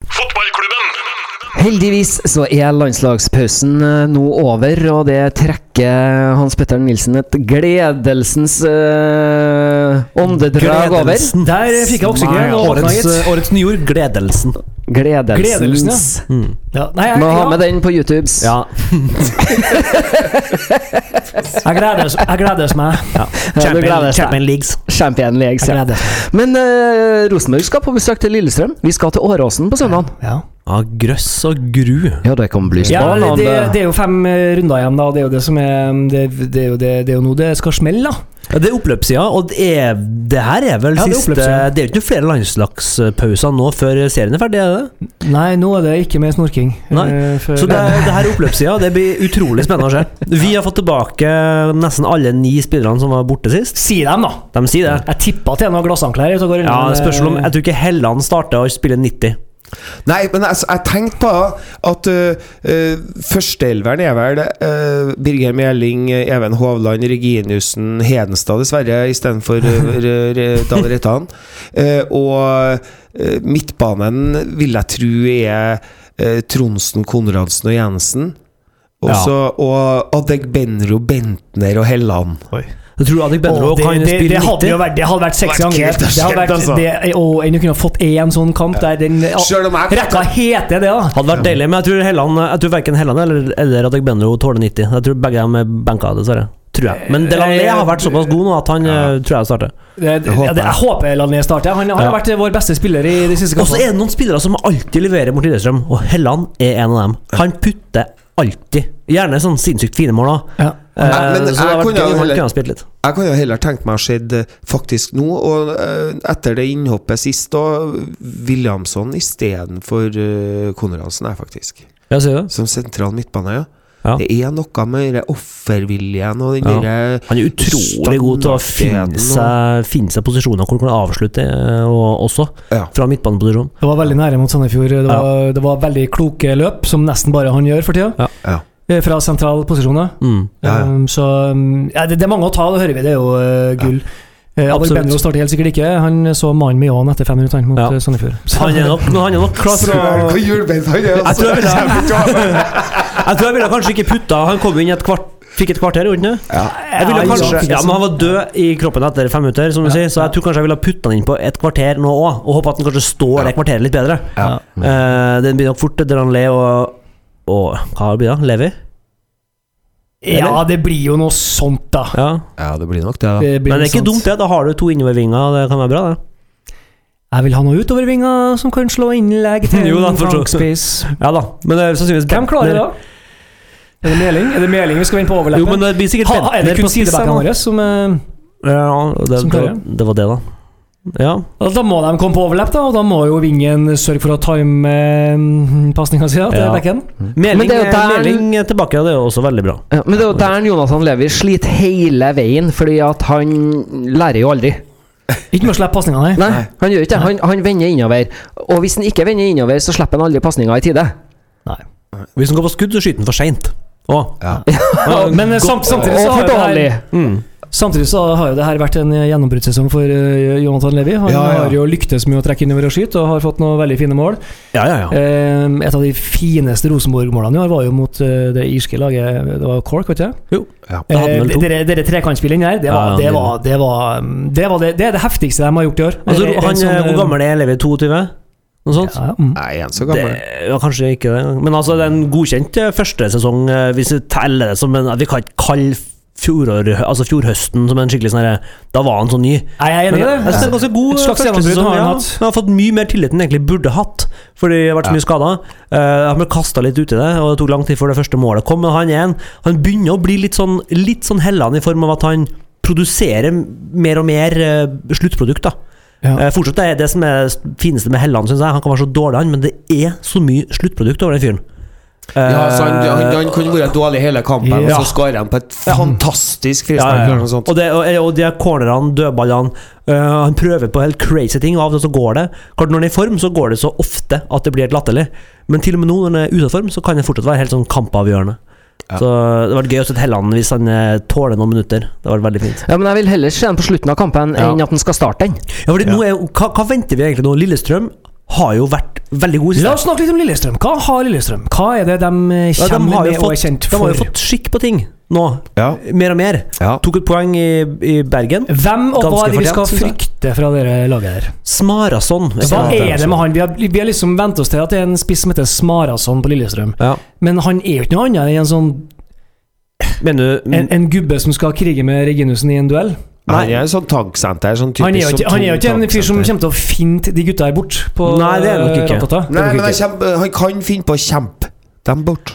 [SPEAKER 1] Heldigvis så er landslagspausen eh, nå over, og det trekker Hans Petter Nilsen et gledelsens eh, åndedrag over.
[SPEAKER 4] Gledelsen.
[SPEAKER 2] Der fikk jeg oksygen og
[SPEAKER 4] Årets, eh,
[SPEAKER 2] oppdaget.
[SPEAKER 4] årets nye ord Gledelsen.
[SPEAKER 1] Gledelsens.
[SPEAKER 2] Gledelsen, ja. Ja, nei, jeg,
[SPEAKER 1] Må ha
[SPEAKER 2] ja,
[SPEAKER 1] med den på YouTubes.
[SPEAKER 4] Ja.
[SPEAKER 2] <laughs> jeg gledes, jeg gledes meg.
[SPEAKER 4] ja.
[SPEAKER 1] Eh, du gleder
[SPEAKER 4] Champion,
[SPEAKER 1] deg.
[SPEAKER 4] Champion Leagues.
[SPEAKER 1] Champion League.
[SPEAKER 2] Jeg
[SPEAKER 1] Ja.
[SPEAKER 2] gledes.
[SPEAKER 1] Men eh, Rosenborg skal på besøk til Lillestrøm. Vi skal til Åråsen på søndag.
[SPEAKER 2] Ja.
[SPEAKER 4] Ja, grøss og gru.
[SPEAKER 1] Ja, det kan bli
[SPEAKER 2] Ja,
[SPEAKER 1] spennende.
[SPEAKER 2] det, det er jo fem eh, runder igjen, da. og Det er jo det som er Det, det, er, jo det, det er jo nå det skal smelle, da.
[SPEAKER 4] Ja, det er oppløpssida, og det, er, det her er vel
[SPEAKER 2] Ja, det er
[SPEAKER 4] siste Det
[SPEAKER 2] oppløpssida.
[SPEAKER 4] er jo ikke noen flere landslagspauser nå før serien er ferdig, er det det?
[SPEAKER 2] Nei, nå er det ikke mer snorking.
[SPEAKER 4] Nei,
[SPEAKER 2] eh, for-
[SPEAKER 4] Så det, er- det her er oppløpssida. Det blir utrolig spennende å se. Vi har fått tilbake nesten alle ni spillerne som var borte sist.
[SPEAKER 2] Si dem, da!
[SPEAKER 4] De sier det.
[SPEAKER 2] Jeg tippa at en har glassanklær ute og går
[SPEAKER 4] Ja,
[SPEAKER 2] men,
[SPEAKER 4] spørsmål om
[SPEAKER 2] eh,
[SPEAKER 4] Jeg tror ikke Helland starter å spille 90.
[SPEAKER 3] Nei, men altså, jeg tenkte på at uh, uh, førsteelveren er vel uh, Birger Meling, uh, Even Hovland, Reginiussen, Hedenstad dessverre, istedenfor uh, r- r- Dahl Reitan. Uh, og uh, midtbanen vil jeg tro er uh, Tronsen, Konradsen og Jensen. Og
[SPEAKER 4] Ja.
[SPEAKER 3] så og Adegbenro, Bentner og Helland.
[SPEAKER 4] Jeg tror Adek Benro
[SPEAKER 2] Åh, det,
[SPEAKER 4] kan
[SPEAKER 2] det, det,
[SPEAKER 4] spille
[SPEAKER 2] hadde jo
[SPEAKER 4] 90.
[SPEAKER 2] vært, det hadde vært sexy
[SPEAKER 3] Vært
[SPEAKER 2] angrep.
[SPEAKER 3] helt
[SPEAKER 2] Det hadde
[SPEAKER 3] skjedd,
[SPEAKER 2] vært,
[SPEAKER 3] altså.
[SPEAKER 2] det, og en kunne ha fått én sånn kamp der den
[SPEAKER 3] Selv om jeg
[SPEAKER 2] Rekka heter det, da.
[SPEAKER 4] Hadde vært deilig, men jeg tror, Helland, jeg tror verken Helland eller, eller Adek Benro tåler 90. Jeg tror begge dem er benka, dessverre. Tror jeg. Men Delaney har vært såpass god nå at han eh, tror jeg starter.
[SPEAKER 2] Det, det,
[SPEAKER 3] håper
[SPEAKER 2] ja, det, jeg håper Lanné starter. Han, han
[SPEAKER 4] Ja.
[SPEAKER 2] har vært vår beste spiller i de siste
[SPEAKER 4] Og så
[SPEAKER 2] kampene.
[SPEAKER 4] er det noen spillere som alltid leverer mot Lillestrøm, og Helland er en av dem. Han putter alltid. Gjerne sånn sinnssykt fine mål, da.
[SPEAKER 2] Ja.
[SPEAKER 4] Eh,
[SPEAKER 3] Nei, men
[SPEAKER 4] så det
[SPEAKER 3] jeg
[SPEAKER 4] hadde vært
[SPEAKER 3] kunne
[SPEAKER 4] gøy
[SPEAKER 3] jo
[SPEAKER 4] om han
[SPEAKER 3] heller-
[SPEAKER 4] kunne ha spilt litt.
[SPEAKER 3] Jeg kan jo heller tenke meg å se det faktisk nå, og eh, etter det innhoppet sist, da Williamson istedenfor uh, Konradsen, her, faktisk.
[SPEAKER 4] Ja, sier du det?
[SPEAKER 3] Som sentral midtbane, ja.
[SPEAKER 4] Ja.
[SPEAKER 3] Det er noe med den offerviljen og den eh,
[SPEAKER 4] Ja.
[SPEAKER 3] derre
[SPEAKER 4] Han er utrolig god til å finne seg, finne seg posisjoner hvor han kan avslutte, eh, og også
[SPEAKER 3] Ja.
[SPEAKER 4] fra midtbaneposisjon.
[SPEAKER 2] Det var veldig nære mot Sandefjord. Det
[SPEAKER 4] Ja.
[SPEAKER 2] var, det var veldig kloke løp, som nesten bare han gjør for tida.
[SPEAKER 3] Ja.
[SPEAKER 2] eh, Fra sentrale posisjoner.
[SPEAKER 4] Mm.
[SPEAKER 3] Ja, ja.
[SPEAKER 2] Um, så um, ja, det, det er mange å ta, det hører vi. Det er jo eh, gull. Ja.
[SPEAKER 4] Absolutt.
[SPEAKER 2] Benro starter helt sikkert ikke. Han så mannen med ljåen etter fem minutter han, mot
[SPEAKER 4] Ja.
[SPEAKER 2] eh, Sandefjord. Så-
[SPEAKER 4] Han er nok, men han er nok klar for å
[SPEAKER 3] hjulbeint han er!
[SPEAKER 4] Jeg tror jeg ville, jeg tror jeg ville kanskje ikke putta Han kom inn i et kvart, fikk et kvarter, gjorde han ikke? Jeg ville
[SPEAKER 2] Ja, Johan
[SPEAKER 4] kanskje, ja, men
[SPEAKER 2] Kristiansen.
[SPEAKER 4] han var død i kroppen etter fem minutter, som du sier, så jeg tror kanskje jeg ville ha putta han inn på et kvarter nå òg, og håpa at han kanskje står det kvarteret litt bedre.
[SPEAKER 3] Ja.
[SPEAKER 4] Eh, den blir nok fort Delanley og Og hva blir det? da? Levi?
[SPEAKER 2] Ja, det blir jo noe sånt, da.
[SPEAKER 4] Ja.
[SPEAKER 3] Ja, det blir nok det, da.
[SPEAKER 2] Det blir
[SPEAKER 4] Men
[SPEAKER 2] noe
[SPEAKER 4] det er ikke
[SPEAKER 2] sånt.
[SPEAKER 4] dumt, det. Da har du to innovervinger, det kan være bra, det.
[SPEAKER 2] Jeg vil ha noe utovervinger som kan slå innlegg til
[SPEAKER 4] <laughs> Jo da,
[SPEAKER 2] en
[SPEAKER 4] forstå- <laughs>
[SPEAKER 2] flankspiss.
[SPEAKER 4] Ja da, men eh, det er sannsynligvis
[SPEAKER 2] Hvem klarer det,
[SPEAKER 4] Bentner-
[SPEAKER 2] da? Er det meling? Er det meling vi skal vende på overleppen?
[SPEAKER 4] Jo, men det blir sikkert
[SPEAKER 2] ha, er det
[SPEAKER 4] Bentner
[SPEAKER 2] kun
[SPEAKER 4] på spiss,
[SPEAKER 2] sidebackene
[SPEAKER 4] da.
[SPEAKER 2] våre som eh,
[SPEAKER 4] Ja, det,
[SPEAKER 2] Som
[SPEAKER 4] det,
[SPEAKER 2] klarer
[SPEAKER 4] det var det, da. Ja.
[SPEAKER 2] altså, Da må de komme på overlepp, da, og da må jo vingen sørge for å time eh, pasninga si til
[SPEAKER 4] Ja.
[SPEAKER 2] bekken.
[SPEAKER 4] Meling,
[SPEAKER 1] Men det er jo der-
[SPEAKER 4] Meling er eh, tilbake, og det er jo også veldig bra.
[SPEAKER 1] Ja, men det er jo der Jonathan Levi sliter hele veien, fordi at han lærer jo aldri.
[SPEAKER 2] Ikke med å slippe pasninga, nei.
[SPEAKER 1] Nei, han gjør ikke det. Han, han vender innover. Og hvis han ikke vender innover, så slipper han aldri pasninga i tide.
[SPEAKER 4] Hvis han går på skudd, så skyter han for seint. Å.
[SPEAKER 3] Ja.
[SPEAKER 4] Ja,
[SPEAKER 2] Men eh,
[SPEAKER 4] godt.
[SPEAKER 2] sam- samtidig
[SPEAKER 1] Og
[SPEAKER 2] så har
[SPEAKER 1] for
[SPEAKER 2] jo det
[SPEAKER 1] dårlig.
[SPEAKER 2] her
[SPEAKER 4] Mm.
[SPEAKER 2] Samtidig så har jo det her vært en gjennombruddssesong for eh, Jonathan Levi. Han
[SPEAKER 3] Ja, ja.
[SPEAKER 2] har jo lyktes med å trekke innover og skyte, og har fått noen veldig fine mål.
[SPEAKER 4] Ja, ja, ja.
[SPEAKER 2] Eh, et av de fineste Rosenborg-målene i år var jo mot eh, det irske laget Det var Cork, vet du?
[SPEAKER 4] Jo.
[SPEAKER 3] Ja.
[SPEAKER 4] Da hadde
[SPEAKER 2] Eh,
[SPEAKER 4] han vel to.
[SPEAKER 2] dere dere trekantspillingen der, det var,
[SPEAKER 4] Ja,
[SPEAKER 2] det,
[SPEAKER 4] ja,
[SPEAKER 2] var, det, var, mm, det, var det, det er det heftigste de har gjort i år.
[SPEAKER 4] Altså,
[SPEAKER 2] En- en
[SPEAKER 4] han,
[SPEAKER 2] sånn,
[SPEAKER 4] eh, hvor
[SPEAKER 2] eh,
[SPEAKER 4] gammel er Levi? 22? Noe sånt?
[SPEAKER 2] Ja, mm.
[SPEAKER 3] Nei, en så
[SPEAKER 4] Det,
[SPEAKER 3] gammel.
[SPEAKER 4] ja, kanskje ikke det. Men altså, det er en godkjent eh, første sesong, eh, hvis vi teller det som en Vi kan ikke kalle fjorår, altså fjorhøsten som en skikkelig sånn herre Da var han så ny.
[SPEAKER 2] Nei, jeg er
[SPEAKER 4] Men
[SPEAKER 2] enig i det.
[SPEAKER 4] jeg synes det er ganske god
[SPEAKER 2] Et slags
[SPEAKER 4] første
[SPEAKER 2] gjennombrudd
[SPEAKER 4] sesong,
[SPEAKER 2] har han
[SPEAKER 4] ja.
[SPEAKER 2] hatt.
[SPEAKER 4] Han har fått mye mer tillit enn han egentlig burde hatt, fordi det har vært så mye skader. Eh, han ble kasta litt uti det, og det tok lang tid før det første målet kom. Men han er en Han begynner å bli litt sånn, litt sånn Helland i form av at han produserer mer og mer eh, sluttprodukt, da.
[SPEAKER 2] Ja.
[SPEAKER 4] Eh, fortsatt det er det som er det fineste med Helland, synes jeg. Han kan være så dårlig, han, men det er så mye sluttprodukt over den fyren.
[SPEAKER 3] Ja, så han, han,
[SPEAKER 4] Eh,
[SPEAKER 3] han kunne vært dårlig hele kampen,
[SPEAKER 2] Ja.
[SPEAKER 3] og så skårer han på et fantastisk frispark.
[SPEAKER 4] ja, ja,
[SPEAKER 3] eller
[SPEAKER 4] ja.
[SPEAKER 3] noe sånt.
[SPEAKER 4] Og, det, og, og de her cornerne, dødballene øh, Han prøver på helt crazy ting, og av og til så går det. Klart Når han er i form, så går det så ofte at det blir helt latterlig. Men til og med nå når han er ute av form, så kan det fortsatt være helt sånn kampavgjørende.
[SPEAKER 3] Ja.
[SPEAKER 4] Så det hadde vært gøy å se Helland hvis han eh, tåler noen minutter. Det hadde vært veldig fint.
[SPEAKER 1] Ja, men jeg vil heller se den på slutten av kampen
[SPEAKER 4] Ja.
[SPEAKER 1] enn at han skal starte den.
[SPEAKER 4] Ja, fordi nå er, jo- hva, hva venter vi egentlig nå? Lillestrøm har jo vært veldig god. i
[SPEAKER 2] La
[SPEAKER 4] siste.
[SPEAKER 2] oss snakke litt om Lillestrøm. Hva har Lillestrøm? Hva er det de eh,
[SPEAKER 4] Ja, de,
[SPEAKER 2] kommer
[SPEAKER 4] har jo
[SPEAKER 2] med og er
[SPEAKER 4] fått,
[SPEAKER 2] kjent
[SPEAKER 4] de har
[SPEAKER 2] for?
[SPEAKER 4] jo fått skikk på ting nå.
[SPEAKER 3] Ja.
[SPEAKER 4] Mer og mer.
[SPEAKER 3] Ja.
[SPEAKER 4] Tok et poeng i, i Bergen.
[SPEAKER 2] Hvem og hva
[SPEAKER 4] Ganske
[SPEAKER 2] er det vi skal
[SPEAKER 4] fortjent, synes jeg.
[SPEAKER 2] frykte fra dere laget her?
[SPEAKER 4] Smarason.
[SPEAKER 2] Hva er det med han? Vi har, vi har liksom vent oss til at det er en spiss som heter Smarason på Lillestrøm.
[SPEAKER 4] Ja.
[SPEAKER 2] Men han er jo ikke noe annet enn en, sånn,
[SPEAKER 4] Mener du
[SPEAKER 2] en, en gubbe som skal krige med Reginussen i en duell.
[SPEAKER 3] Han er en sånn tanksenter. Sånn typisk
[SPEAKER 2] Han er jo ikke,
[SPEAKER 3] sånn
[SPEAKER 2] han er jo ikke en fyr som
[SPEAKER 3] tanksenter.
[SPEAKER 2] kommer til å finte de gutta her bort. På eh,
[SPEAKER 4] Nei, det er nok ikke.
[SPEAKER 2] Ratata.
[SPEAKER 3] Nei, men han, kjempe, han kan finne på å kjempe dem bort.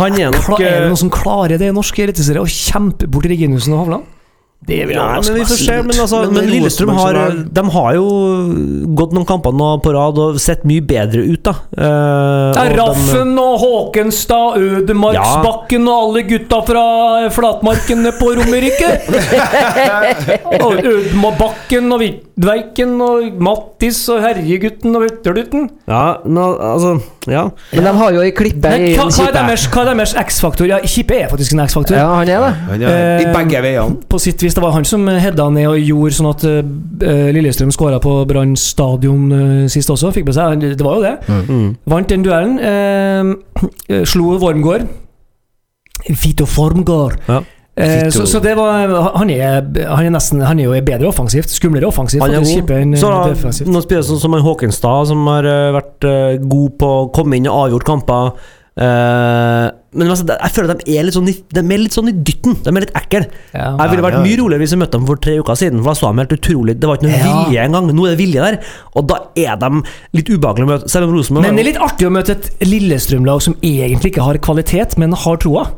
[SPEAKER 4] Han er nok
[SPEAKER 2] Kla- Er det
[SPEAKER 4] eh,
[SPEAKER 2] noen som klarer det i norsk eliteserie? Å kjempe bort Reginussen og Hovland? Det vil
[SPEAKER 4] ja,
[SPEAKER 2] overraske
[SPEAKER 4] men vi
[SPEAKER 2] meg.
[SPEAKER 4] får se, men, altså,
[SPEAKER 3] Men
[SPEAKER 4] men,
[SPEAKER 3] det er
[SPEAKER 4] Lillestrøm
[SPEAKER 3] Rosenborg
[SPEAKER 4] har,
[SPEAKER 3] som
[SPEAKER 4] de har jo gått noen kamper nå på rad og sett mye bedre ut, da. Eh,
[SPEAKER 2] Det er
[SPEAKER 4] og de-
[SPEAKER 2] Raffen og Håkenstad, Ødemarksbakken og alle gutta fra flatmarkene på Romerike. og Ødemarksbakken og Vidveiken og Mattis og Herjegutten og Vetterdutten.
[SPEAKER 4] Ja, men al- altså Ja.
[SPEAKER 1] Men de har jo ei klippe
[SPEAKER 2] Men
[SPEAKER 1] i
[SPEAKER 2] hva, hva er
[SPEAKER 1] Kippe.
[SPEAKER 2] deres, hva er deres X-faktor? Ja, Kippe er faktisk en X-faktor.
[SPEAKER 1] Ja, han er det.
[SPEAKER 3] Han er, I
[SPEAKER 2] Eh,
[SPEAKER 3] begge veiene.
[SPEAKER 2] På sitt vis, Det var han som hedda ned og gjorde sånn at eh, Lillestrøm skåra på Brann stadion eh, sist også. Fikk med seg, Det var jo det.
[SPEAKER 4] Mm.
[SPEAKER 2] Vant den duellen. Eh, slo Wormgård. Vito Formgård.
[SPEAKER 4] Ja.
[SPEAKER 2] Eh,
[SPEAKER 3] Vito.
[SPEAKER 2] så, så det var Han er, han er nesten Han er jo bedre offensivt. Skumlere offensivt.
[SPEAKER 4] Han er
[SPEAKER 2] faktisk,
[SPEAKER 4] god.
[SPEAKER 2] kjipe enn
[SPEAKER 4] Så da,
[SPEAKER 2] defensivt.
[SPEAKER 4] nå spiller sånn som han Håkenstad, som har eh, vært eh, god på å komme inn og avgjort kamper. Eh, men altså, jeg føler at de er litt sånn i, de er litt sånn i dytten. De er litt ekle.
[SPEAKER 2] Ja.
[SPEAKER 4] Jeg ville vært
[SPEAKER 3] Ja, ja.
[SPEAKER 4] mye roligere hvis jeg møtte dem for tre uker siden. For da så de helt utrolig Det var ikke noe
[SPEAKER 2] Ja.
[SPEAKER 4] vilje engang. Nå er det vilje der, og da er de litt ubehagelige å møte. Selv om Rosenborg
[SPEAKER 2] Men det er litt artig å møte et Lillestrøm-lag som egentlig ikke har kvalitet, men har troa.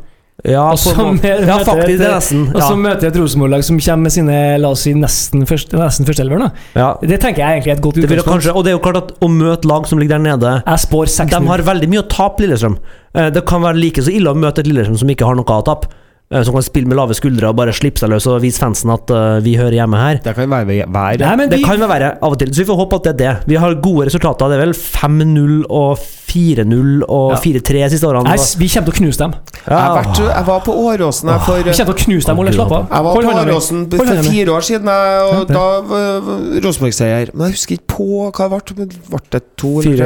[SPEAKER 4] ja,
[SPEAKER 2] Og så
[SPEAKER 4] på en måte.
[SPEAKER 2] møter
[SPEAKER 4] ja,
[SPEAKER 2] et-
[SPEAKER 4] faktisk. Det er nesten.
[SPEAKER 2] Og
[SPEAKER 4] Ja.
[SPEAKER 2] så møter jeg et Rosenborg-lag som kommer med sine la oss si, nesten først- nesten førsteelveren. da.
[SPEAKER 4] Ja.
[SPEAKER 2] Det tenker jeg egentlig er et godt
[SPEAKER 4] Det vil jo
[SPEAKER 2] utgangspunkt.
[SPEAKER 4] kanskje, og det er jo klart at å møte lag som ligger der nede
[SPEAKER 2] Jeg spår 6-0.
[SPEAKER 4] De har veldig mye å tape, Lillestrøm. Eh, Det kan være like så ille å møte et Lillestrøm som ikke har noe å tape. eh, Som kan spille med lave skuldre og bare slippe seg løs og vise fansen at eh, vi hører hjemme her.
[SPEAKER 3] Det kan være hver
[SPEAKER 2] Nei, men
[SPEAKER 4] Det
[SPEAKER 2] vi-
[SPEAKER 4] kan være verre av og til, så vi får håpe at det er det. Vi har gode resultater. Det er vel 5-0 og 4-0 og
[SPEAKER 2] Ja.
[SPEAKER 4] 4-3 siste årene.
[SPEAKER 2] Nei, s- vi kommer til å knuse dem.
[SPEAKER 3] Jeg, vært, Ah. jeg var på Åråsen jeg, for
[SPEAKER 2] Vi kommer til å knuse dem. Ole, slapp av.
[SPEAKER 3] Jeg var
[SPEAKER 2] Hold
[SPEAKER 3] på
[SPEAKER 2] hånda mi.
[SPEAKER 3] Åråsen
[SPEAKER 2] Hold hånda
[SPEAKER 3] for
[SPEAKER 2] mi.
[SPEAKER 3] fire år siden, jeg, og
[SPEAKER 2] Ja,
[SPEAKER 3] da var Rosenborg-seier. Men jeg husker ikke på hva det ble. men Ble det to eller
[SPEAKER 4] fire,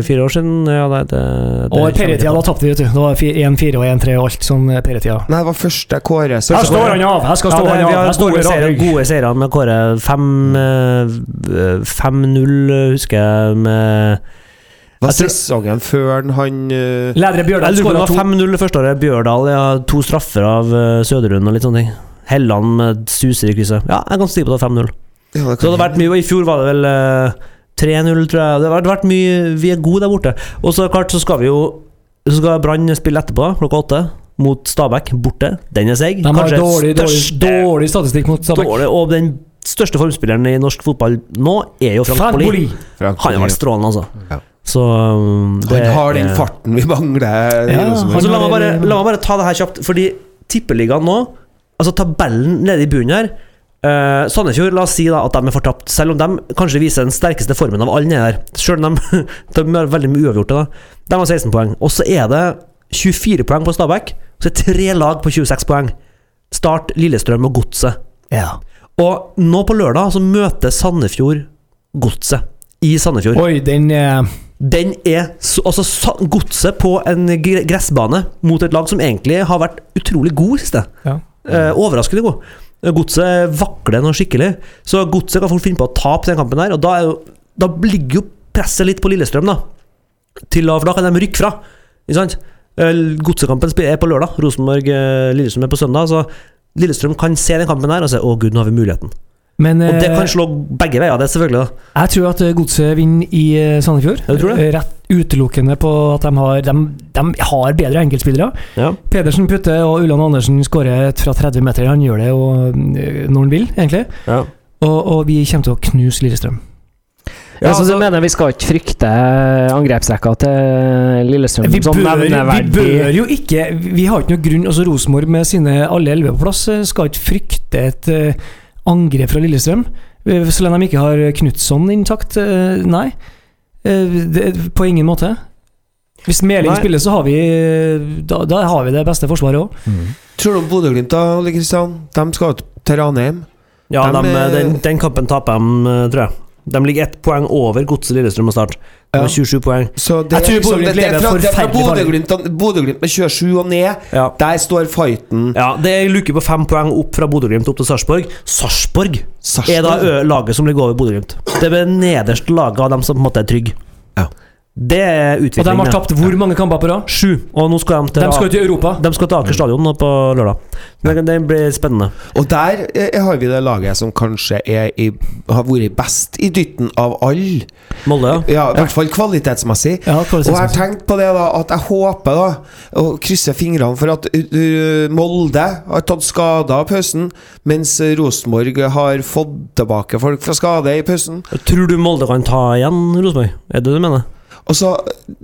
[SPEAKER 3] tre?
[SPEAKER 4] fire år siden. Ja, nei, det, det
[SPEAKER 2] Og perietida, da tapte vi, vet du. Det var 1-4 og 1-3 og alt sånn eh, perietida.
[SPEAKER 3] Nei, det var første Kåre. Så-
[SPEAKER 2] Her står han av! Her skal
[SPEAKER 4] Ja,
[SPEAKER 2] stå
[SPEAKER 4] det,
[SPEAKER 2] han av!
[SPEAKER 4] vi har
[SPEAKER 2] Her står
[SPEAKER 4] gode
[SPEAKER 2] han
[SPEAKER 4] seire,
[SPEAKER 2] av!
[SPEAKER 4] gode seire med Kåre. Fem, eh, 5-0, husker jeg. Med
[SPEAKER 3] Var
[SPEAKER 4] Jeg tror-
[SPEAKER 3] sesongen før han, han eh,
[SPEAKER 2] Ledere Bjørdal
[SPEAKER 4] Jeg lurer på om
[SPEAKER 2] skåra
[SPEAKER 4] det
[SPEAKER 2] to.
[SPEAKER 4] var 5-0 det første året. Bjørdal ja, to straffer av eh, Søderlund og litt sånne ting. Helland med suser i krysset. Ja, jeg er ganske sikker på at det var 5-0.
[SPEAKER 3] ja, det
[SPEAKER 4] Så det hadde vært mye, og i fjor var det vel eh, 3-0, tror jeg. Det har vært- vært mye Vi er gode der borte. Og så klart så skal vi jo Så skal Brann spille etterpå, klokka åtte, mot Stabæk. Borte. Den er seig.
[SPEAKER 2] De har dårlig, dårlig,
[SPEAKER 4] største-
[SPEAKER 2] dårlig statistikk mot Stabæk.
[SPEAKER 4] dårlig Og den største formspilleren i norsk fotball nå er jo Frank
[SPEAKER 2] Frank
[SPEAKER 4] Bolli.
[SPEAKER 2] Bolli.
[SPEAKER 3] Frank
[SPEAKER 4] Han har vært strålende, altså.
[SPEAKER 3] Ja.
[SPEAKER 4] Så um, det
[SPEAKER 3] Han har den
[SPEAKER 4] er-
[SPEAKER 3] farten vi mangler. i
[SPEAKER 2] Ja,
[SPEAKER 3] Rosenborg.
[SPEAKER 2] han-
[SPEAKER 4] Altså, la, meg
[SPEAKER 2] har-
[SPEAKER 4] bare, la meg bare ta det her kjapt, fordi tippeligaen nå Altså tabellen nede i bunnen her Eh, Sandefjord, la oss si da at de er fortapt, selv om de kanskje viser den sterkeste formen av alle nede der. Selv om de, <laughs> de har veldig mye uavgjorte, da. De har 16 poeng. Og så er det 24 poeng på Stabæk, og så er det tre lag på 26 poeng. Start, Lillestrøm og Godset.
[SPEAKER 2] Ja.
[SPEAKER 4] Og nå på lørdag så møter Sandefjord Godset i Sandefjord.
[SPEAKER 2] Oi, den eh,
[SPEAKER 4] Den er så, altså sa- Godset på en gre- gressbane mot et lag som egentlig har vært utrolig god i siste.
[SPEAKER 2] ja.
[SPEAKER 4] Eh, overraskende god. Eh, Godset vakler nå skikkelig, så Godset kan fort finne på å tape den kampen der. Og da, er jo, da ligger jo presset litt på Lillestrøm, da. Til, å- for da kan de rykke fra. Ikke sant? Eh, Godsekampen spi- er på lørdag. Rosenborg-Lillestrøm er på søndag. Så Lillestrøm kan se den kampen her og si 'Å, gud, nå har vi muligheten'.
[SPEAKER 2] Men
[SPEAKER 4] Og det
[SPEAKER 2] eh,
[SPEAKER 4] kan slå begge veier, det, selvfølgelig. da
[SPEAKER 2] jeg tror at eh, Godset vinner i eh, Sandefjord.
[SPEAKER 4] Ja, du tror det?
[SPEAKER 2] Eh, Rett utelukkende på at de har, de, de har bedre enkeltspillere.
[SPEAKER 4] ja.
[SPEAKER 2] Pedersen putter, og Ulland Andersen skårer fra 30 meter. Han gjør det jo eh, når han vil, egentlig. Og, og vi kommer til å knuse Lillestrøm.
[SPEAKER 1] Ja,
[SPEAKER 4] altså-
[SPEAKER 1] jeg mener Vi skal ikke frykte angrepsrekka til Lillestrøm
[SPEAKER 2] Vi
[SPEAKER 4] sånn
[SPEAKER 1] som
[SPEAKER 2] bør, vi bør
[SPEAKER 1] nevneverdig.
[SPEAKER 2] jo ikke Vi har ikke noe grunn Altså Rosenborg med sine alle elleve på plass eh, skal ikke frykte et eh, angrep fra Lillestrøm. Eh, Så lenge de ikke har Knutson intakt. eh, Nei. Eh, Det, på ingen måte. Hvis Meling
[SPEAKER 4] Nei.
[SPEAKER 2] spiller, så har vi eh, da, da har vi det beste forsvaret òg.
[SPEAKER 3] Tror du om Bodø-Glimt, da, Ole Kristian? De skal til Ranheim.
[SPEAKER 4] ja
[SPEAKER 3] De,
[SPEAKER 4] dem, eh,
[SPEAKER 3] eh,
[SPEAKER 4] den, den kampen taper de, eh, tror jeg. De ligger ett poeng over Godset, Lillestrøm og Start. De
[SPEAKER 3] Ja.
[SPEAKER 4] har 27 poeng.
[SPEAKER 3] Så det,
[SPEAKER 2] Jeg tror
[SPEAKER 3] er liksom-
[SPEAKER 2] Bodø-Glimt
[SPEAKER 3] det- det er
[SPEAKER 2] lever
[SPEAKER 3] fra- det er fra
[SPEAKER 2] forferdelig farlig.
[SPEAKER 3] Bodø-Glimt Bodø-Glimt med 27 og ned.
[SPEAKER 4] Ja.
[SPEAKER 3] Der står fighten.
[SPEAKER 4] Ja, Det er en luke på fem poeng opp fra Bodø-Glimt opp til Sarpsborg. Sarpsborg er da ø laget som ligger over Bodø-Glimt. Det er det nederste laget av dem som på en måte er trygge.
[SPEAKER 3] Ja.
[SPEAKER 4] Det er
[SPEAKER 2] Og de
[SPEAKER 4] utviklingen.
[SPEAKER 2] har tapt hvor mange kamper på rad?
[SPEAKER 4] Sju, og nå skal de til
[SPEAKER 2] De skal jo til Europa.
[SPEAKER 4] de skal til Aker stadion nå på lørdag. Men Det blir spennende.
[SPEAKER 3] Og der eh, har vi det laget som kanskje er i, har vært best i dytten av alle.
[SPEAKER 4] Molde, ja.
[SPEAKER 3] Ja, i hvert fall kvalitetsmessig.
[SPEAKER 2] Ja,
[SPEAKER 3] Og jeg har tenkt på det da at jeg håper da og krysser fingrene for at uh, Molde har tatt skader av pausen, mens uh, Rosenborg har fått tilbake folk fra skade i pausen.
[SPEAKER 4] Tror du Molde kan ta igjen Rosenborg? Er det det du mener?
[SPEAKER 3] Og så,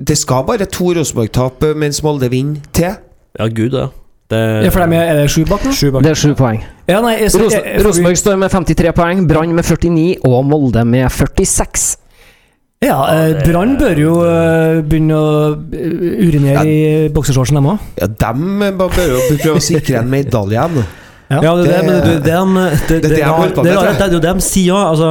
[SPEAKER 3] Det skal bare to Rosenborg-tap uh, mens Molde vinner til.
[SPEAKER 4] Ja, gud, ja. Det,
[SPEAKER 2] Ja, for de er, er det sju bak nå?
[SPEAKER 4] Sju bak.
[SPEAKER 1] Det er sju poeng.
[SPEAKER 2] Ja, nei, jeg- jeg-
[SPEAKER 1] Rosen,
[SPEAKER 2] jeg- jeg-
[SPEAKER 1] Rosenborg står med 53 poeng, Brann med 49 og Molde med 46.
[SPEAKER 2] Ja, eh, Brann bør jo eh, begynne å eh, urinere i boksershortsen, dem òg.
[SPEAKER 3] Ja, dem eh, bare bør jo prøve å sikre en medalje igjen.
[SPEAKER 4] Ja, det, er det, men det, det, er dem- det,
[SPEAKER 3] det
[SPEAKER 4] det,
[SPEAKER 3] er det jeg holder på
[SPEAKER 4] det,
[SPEAKER 3] med,
[SPEAKER 4] er
[SPEAKER 3] tror
[SPEAKER 4] rart,
[SPEAKER 3] jeg.
[SPEAKER 4] det er jo det de sier òg. Altså,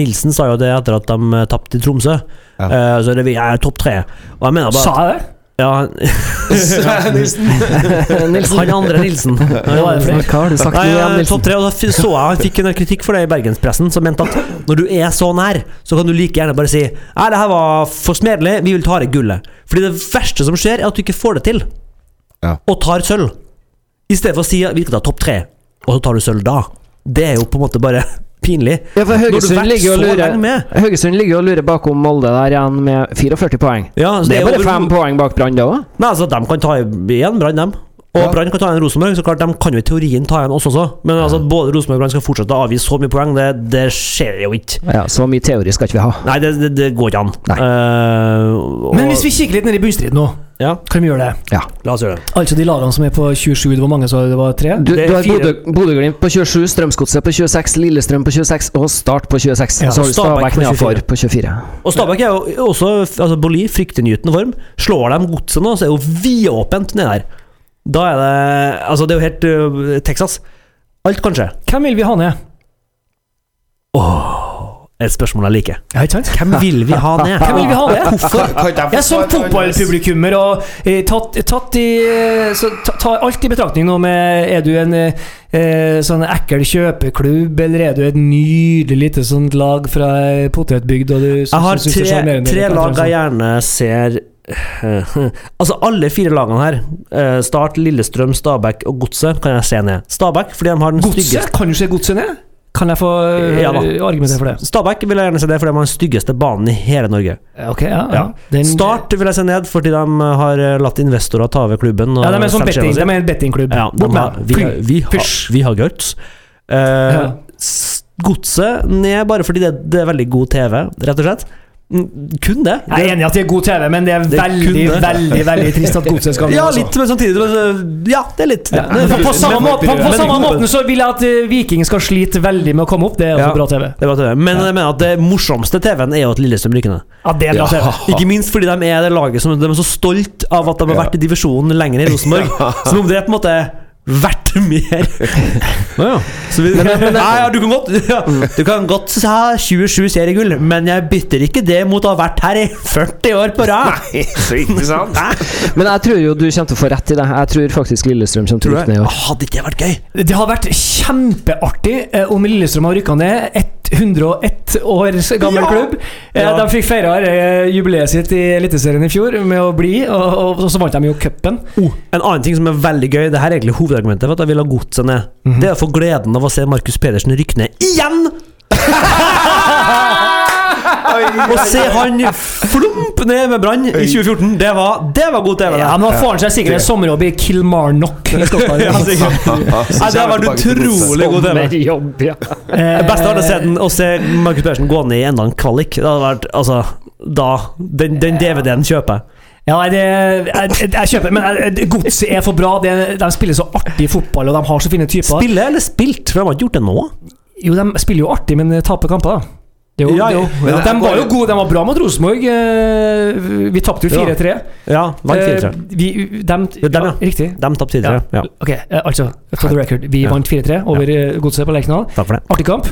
[SPEAKER 4] Nilsen sa jo det etter at de eh, tapte i Tromsø.
[SPEAKER 3] Ja.
[SPEAKER 4] Eh, så det, vi er topp tre. Og jeg mener
[SPEAKER 2] Sa
[SPEAKER 4] bare at,
[SPEAKER 2] jeg det?
[SPEAKER 4] ja, <laughs> han-
[SPEAKER 3] Nilsen.
[SPEAKER 1] Nilsen,
[SPEAKER 4] Han andre
[SPEAKER 3] <laughs>
[SPEAKER 4] Nilsen.
[SPEAKER 2] Nå er det flere.
[SPEAKER 1] hva har du sagt nå
[SPEAKER 4] Nei,
[SPEAKER 1] igjen,
[SPEAKER 4] eh,
[SPEAKER 1] Nilsen?
[SPEAKER 4] topp tre, og da f- så jeg Han fikk en del kritikk for det i bergenspressen, som mente at når du er så nær, så kan du like gjerne bare si Nei, det her var for smedelig, vi vil ta det gullet. Fordi det verste som skjer, er at du ikke får det til,
[SPEAKER 3] Ja.
[SPEAKER 4] og tar sølv. I stedet for å si vi skal ta topp tre, og så tar du sølv da. Det er jo på en måte bare <laughs> pinlig.
[SPEAKER 1] Ja, for
[SPEAKER 4] Når du
[SPEAKER 1] Haugesund
[SPEAKER 4] vært
[SPEAKER 1] ligger jo og
[SPEAKER 4] så
[SPEAKER 1] lurer
[SPEAKER 4] lenge med.
[SPEAKER 1] Haugesund ligger jo og lurer bakom Molde der igjen med 44 poeng.
[SPEAKER 4] Ja, så
[SPEAKER 1] Det er bare
[SPEAKER 4] over-
[SPEAKER 1] fem poeng bak Brann da òg.
[SPEAKER 4] Nei, altså, de kan ta igjen Brann, dem. Og
[SPEAKER 3] Ja.
[SPEAKER 4] Brann kan ta igjen Rosenborg. Så klart, de kan jo i teorien ta igjen oss også. Men altså, at både Rosenborg og Brann skal fortsette å avgi så mye poeng, det, det skjer jo ikke.
[SPEAKER 1] Ja, så mye teori skal ikke vi ha.
[SPEAKER 4] Nei, det, det, det går ikke an.
[SPEAKER 1] Nei.
[SPEAKER 4] Eh, og,
[SPEAKER 2] Men hvis vi kikker litt ned i bunnstriden nå,
[SPEAKER 4] Ja,
[SPEAKER 2] kan vi gjøre det?
[SPEAKER 1] Ja.
[SPEAKER 4] la oss gjøre det.
[SPEAKER 2] Altså de lagene som er på 27, det var mange, så det var tre?
[SPEAKER 1] Du,
[SPEAKER 4] Det er
[SPEAKER 1] du har
[SPEAKER 4] fire.
[SPEAKER 1] Bodø- Bodø-Glimt på 27, Strømsgodset på 26, Lillestrøm på 26 og Start på 26.
[SPEAKER 2] Ja,
[SPEAKER 1] så har du
[SPEAKER 4] Stabæk
[SPEAKER 1] Stabæk
[SPEAKER 4] på
[SPEAKER 1] nedafor på 24.
[SPEAKER 4] Og Stabæk er jo også altså Boli, fryktinngytende form. Slår de godset nå, så er det jo vidåpent nede der. Da er det Altså, det er jo helt øh, Texas. Alt kan skje.
[SPEAKER 2] Hvem vil vi ha ned?
[SPEAKER 4] Et spørsmål jeg liker.
[SPEAKER 2] Ja, ikke sant?
[SPEAKER 4] Hvem vil vi ha ned?
[SPEAKER 2] Hvem vil vi ha ned?
[SPEAKER 3] Kan- kan
[SPEAKER 2] Jeg er som
[SPEAKER 3] ikke forsvare det annerledes?
[SPEAKER 2] fotballpublikummer og eh, tatt, tatt i eh, så, ta, ta alt i betraktning nå med Er du en eh, eh, sånn ekkel kjøpeklubb, eller er du et nydelig lite sånt lag fra eh, potetbygd? Og du, som-
[SPEAKER 4] Jeg har
[SPEAKER 2] som synes det er
[SPEAKER 4] tre,
[SPEAKER 2] sjarmerende,
[SPEAKER 4] tre
[SPEAKER 2] eller hva det
[SPEAKER 4] lag
[SPEAKER 2] er
[SPEAKER 4] jeg
[SPEAKER 2] sånn.
[SPEAKER 4] gjerne ser <laughs> Altså alle fire lagene her, eh, Start, Lillestrøm, Stabæk og Godset, kan jeg se ned. Stabæk, fordi de har den styggeste
[SPEAKER 2] Godset? Kan du se Godset ned? Kan jeg få
[SPEAKER 4] Ja da.
[SPEAKER 2] eh, argumentere for det?
[SPEAKER 4] Stabæk vil jeg gjerne se ned, fordi de har den styggeste banen i hele Norge.
[SPEAKER 2] Ja, Ok, ja, ja.
[SPEAKER 4] Ja.
[SPEAKER 2] Den-
[SPEAKER 4] Start vil jeg se ned, fordi de har eh, latt investorer ta over klubben. og
[SPEAKER 2] Ja, de er en sånn
[SPEAKER 4] selge
[SPEAKER 2] betting,
[SPEAKER 4] skjemaet
[SPEAKER 2] de
[SPEAKER 4] sitt.
[SPEAKER 2] er en bettingklubb.
[SPEAKER 4] Ja, de
[SPEAKER 2] Bort med
[SPEAKER 4] har,
[SPEAKER 2] dem.
[SPEAKER 4] vi,
[SPEAKER 2] Fly.
[SPEAKER 4] har- vi, har,
[SPEAKER 2] Fysj.
[SPEAKER 4] vi har guts. Eh,
[SPEAKER 2] Ja.
[SPEAKER 4] s- Godset ned bare fordi det, det er veldig god TV, rett og slett. Mm, Kun det.
[SPEAKER 2] Jeg er enig i at det er god TV, men det er
[SPEAKER 4] Det
[SPEAKER 2] veldig
[SPEAKER 4] kunne.
[SPEAKER 2] veldig, veldig trist at godset
[SPEAKER 4] <laughs>
[SPEAKER 2] skal altså.
[SPEAKER 4] Ja, litt, men samtidig men, Ja, det er litt. Ja, det,
[SPEAKER 2] På,
[SPEAKER 4] er-
[SPEAKER 2] på samme,
[SPEAKER 3] Men-
[SPEAKER 2] måte, på, på
[SPEAKER 4] men-
[SPEAKER 2] samme måten så vil jeg at eh, Viking skal slite veldig med å komme opp. Det er også
[SPEAKER 4] Ja.
[SPEAKER 2] bra TV.
[SPEAKER 4] det er bra TV. Men jeg mener at det morsomste TV-en er jo at Lillestrøm ryker ned.
[SPEAKER 2] Ja, det er bra TV.
[SPEAKER 4] Ikke minst fordi de er det laget som de er så stolt av at de har vært i divisjonen lenger enn Rosenborg.
[SPEAKER 2] <laughs>
[SPEAKER 4] Som om det er på en måte verdt mer. Så vi, nei, ja, du kan godt <laughs> ja, Du kan godt ha 27 seriegull, men jeg bytter ikke det mot å ha vært her i 40 år på rad.
[SPEAKER 3] Nei, så ikke sant?
[SPEAKER 1] Men jeg tror jo du kommer til å få rett i det. Jeg tror faktisk Lillestrøm kommer til å
[SPEAKER 3] Tror
[SPEAKER 1] rykke ned i år.
[SPEAKER 4] Hadde ikke det vært gøy?
[SPEAKER 2] Det har vært kjempeartig eh, om Lillestrøm har rykka ned. 101 år gammel
[SPEAKER 3] Ja!
[SPEAKER 2] klubb. Eh,
[SPEAKER 4] Ja.
[SPEAKER 2] De fikk feira eh, jubileet sitt i Eliteserien i fjor med å bli, og, og, og så vant de jo cupen.
[SPEAKER 4] Oh, en annen ting som er veldig gøy, det her er egentlig hovedargumentet for at jeg vil ha godset ned, det er å få gleden av å se Markus Pedersen rykke ned igjen! <laughs> Å se han flump ned med Brann i 2014, det var, det var god TV! det.
[SPEAKER 2] Ja, men da får han seg sikkert en sommerjobb i Kilmarnock i Skottland.
[SPEAKER 4] <laughs> Ja, sikkert. Nei, det har vært utrolig god TV.
[SPEAKER 1] Sommerjobb, ja.
[SPEAKER 4] Det beste hadde sett den, å se Markus Pedersen gå ned i enda en kvalik. Det hadde vært, altså da, Den, den DVD-en kjøper jeg.
[SPEAKER 2] Ja, nei, det, jeg, jeg, jeg kjøper Men jeg- jeg- Godset er for bra. Det, de spiller så artig fotball, og de har så fine typer.
[SPEAKER 4] Spille eller spilt? For de har ikke gjort det nå.
[SPEAKER 2] jo, de spiller jo artig, men eh, taper kamper, da. Det er jo,
[SPEAKER 4] Ja, jo.
[SPEAKER 2] det-
[SPEAKER 3] Men
[SPEAKER 2] de
[SPEAKER 3] det-
[SPEAKER 2] var jo gode, de var bra mot Rosenborg. eh, Vi tapte jo 4-3.
[SPEAKER 4] Ja, vant
[SPEAKER 2] Eh,
[SPEAKER 4] 4-3.
[SPEAKER 2] vi- dem-
[SPEAKER 4] Ja, dem, ja.
[SPEAKER 2] Riktig.
[SPEAKER 4] De tapte 4-3. Ja.
[SPEAKER 2] Ok, eh, altså, for the record. Vi
[SPEAKER 4] Ja.
[SPEAKER 2] vant 4-3 over eh, Godset på Lerkendal.
[SPEAKER 4] Takk for det.
[SPEAKER 2] Artig kamp.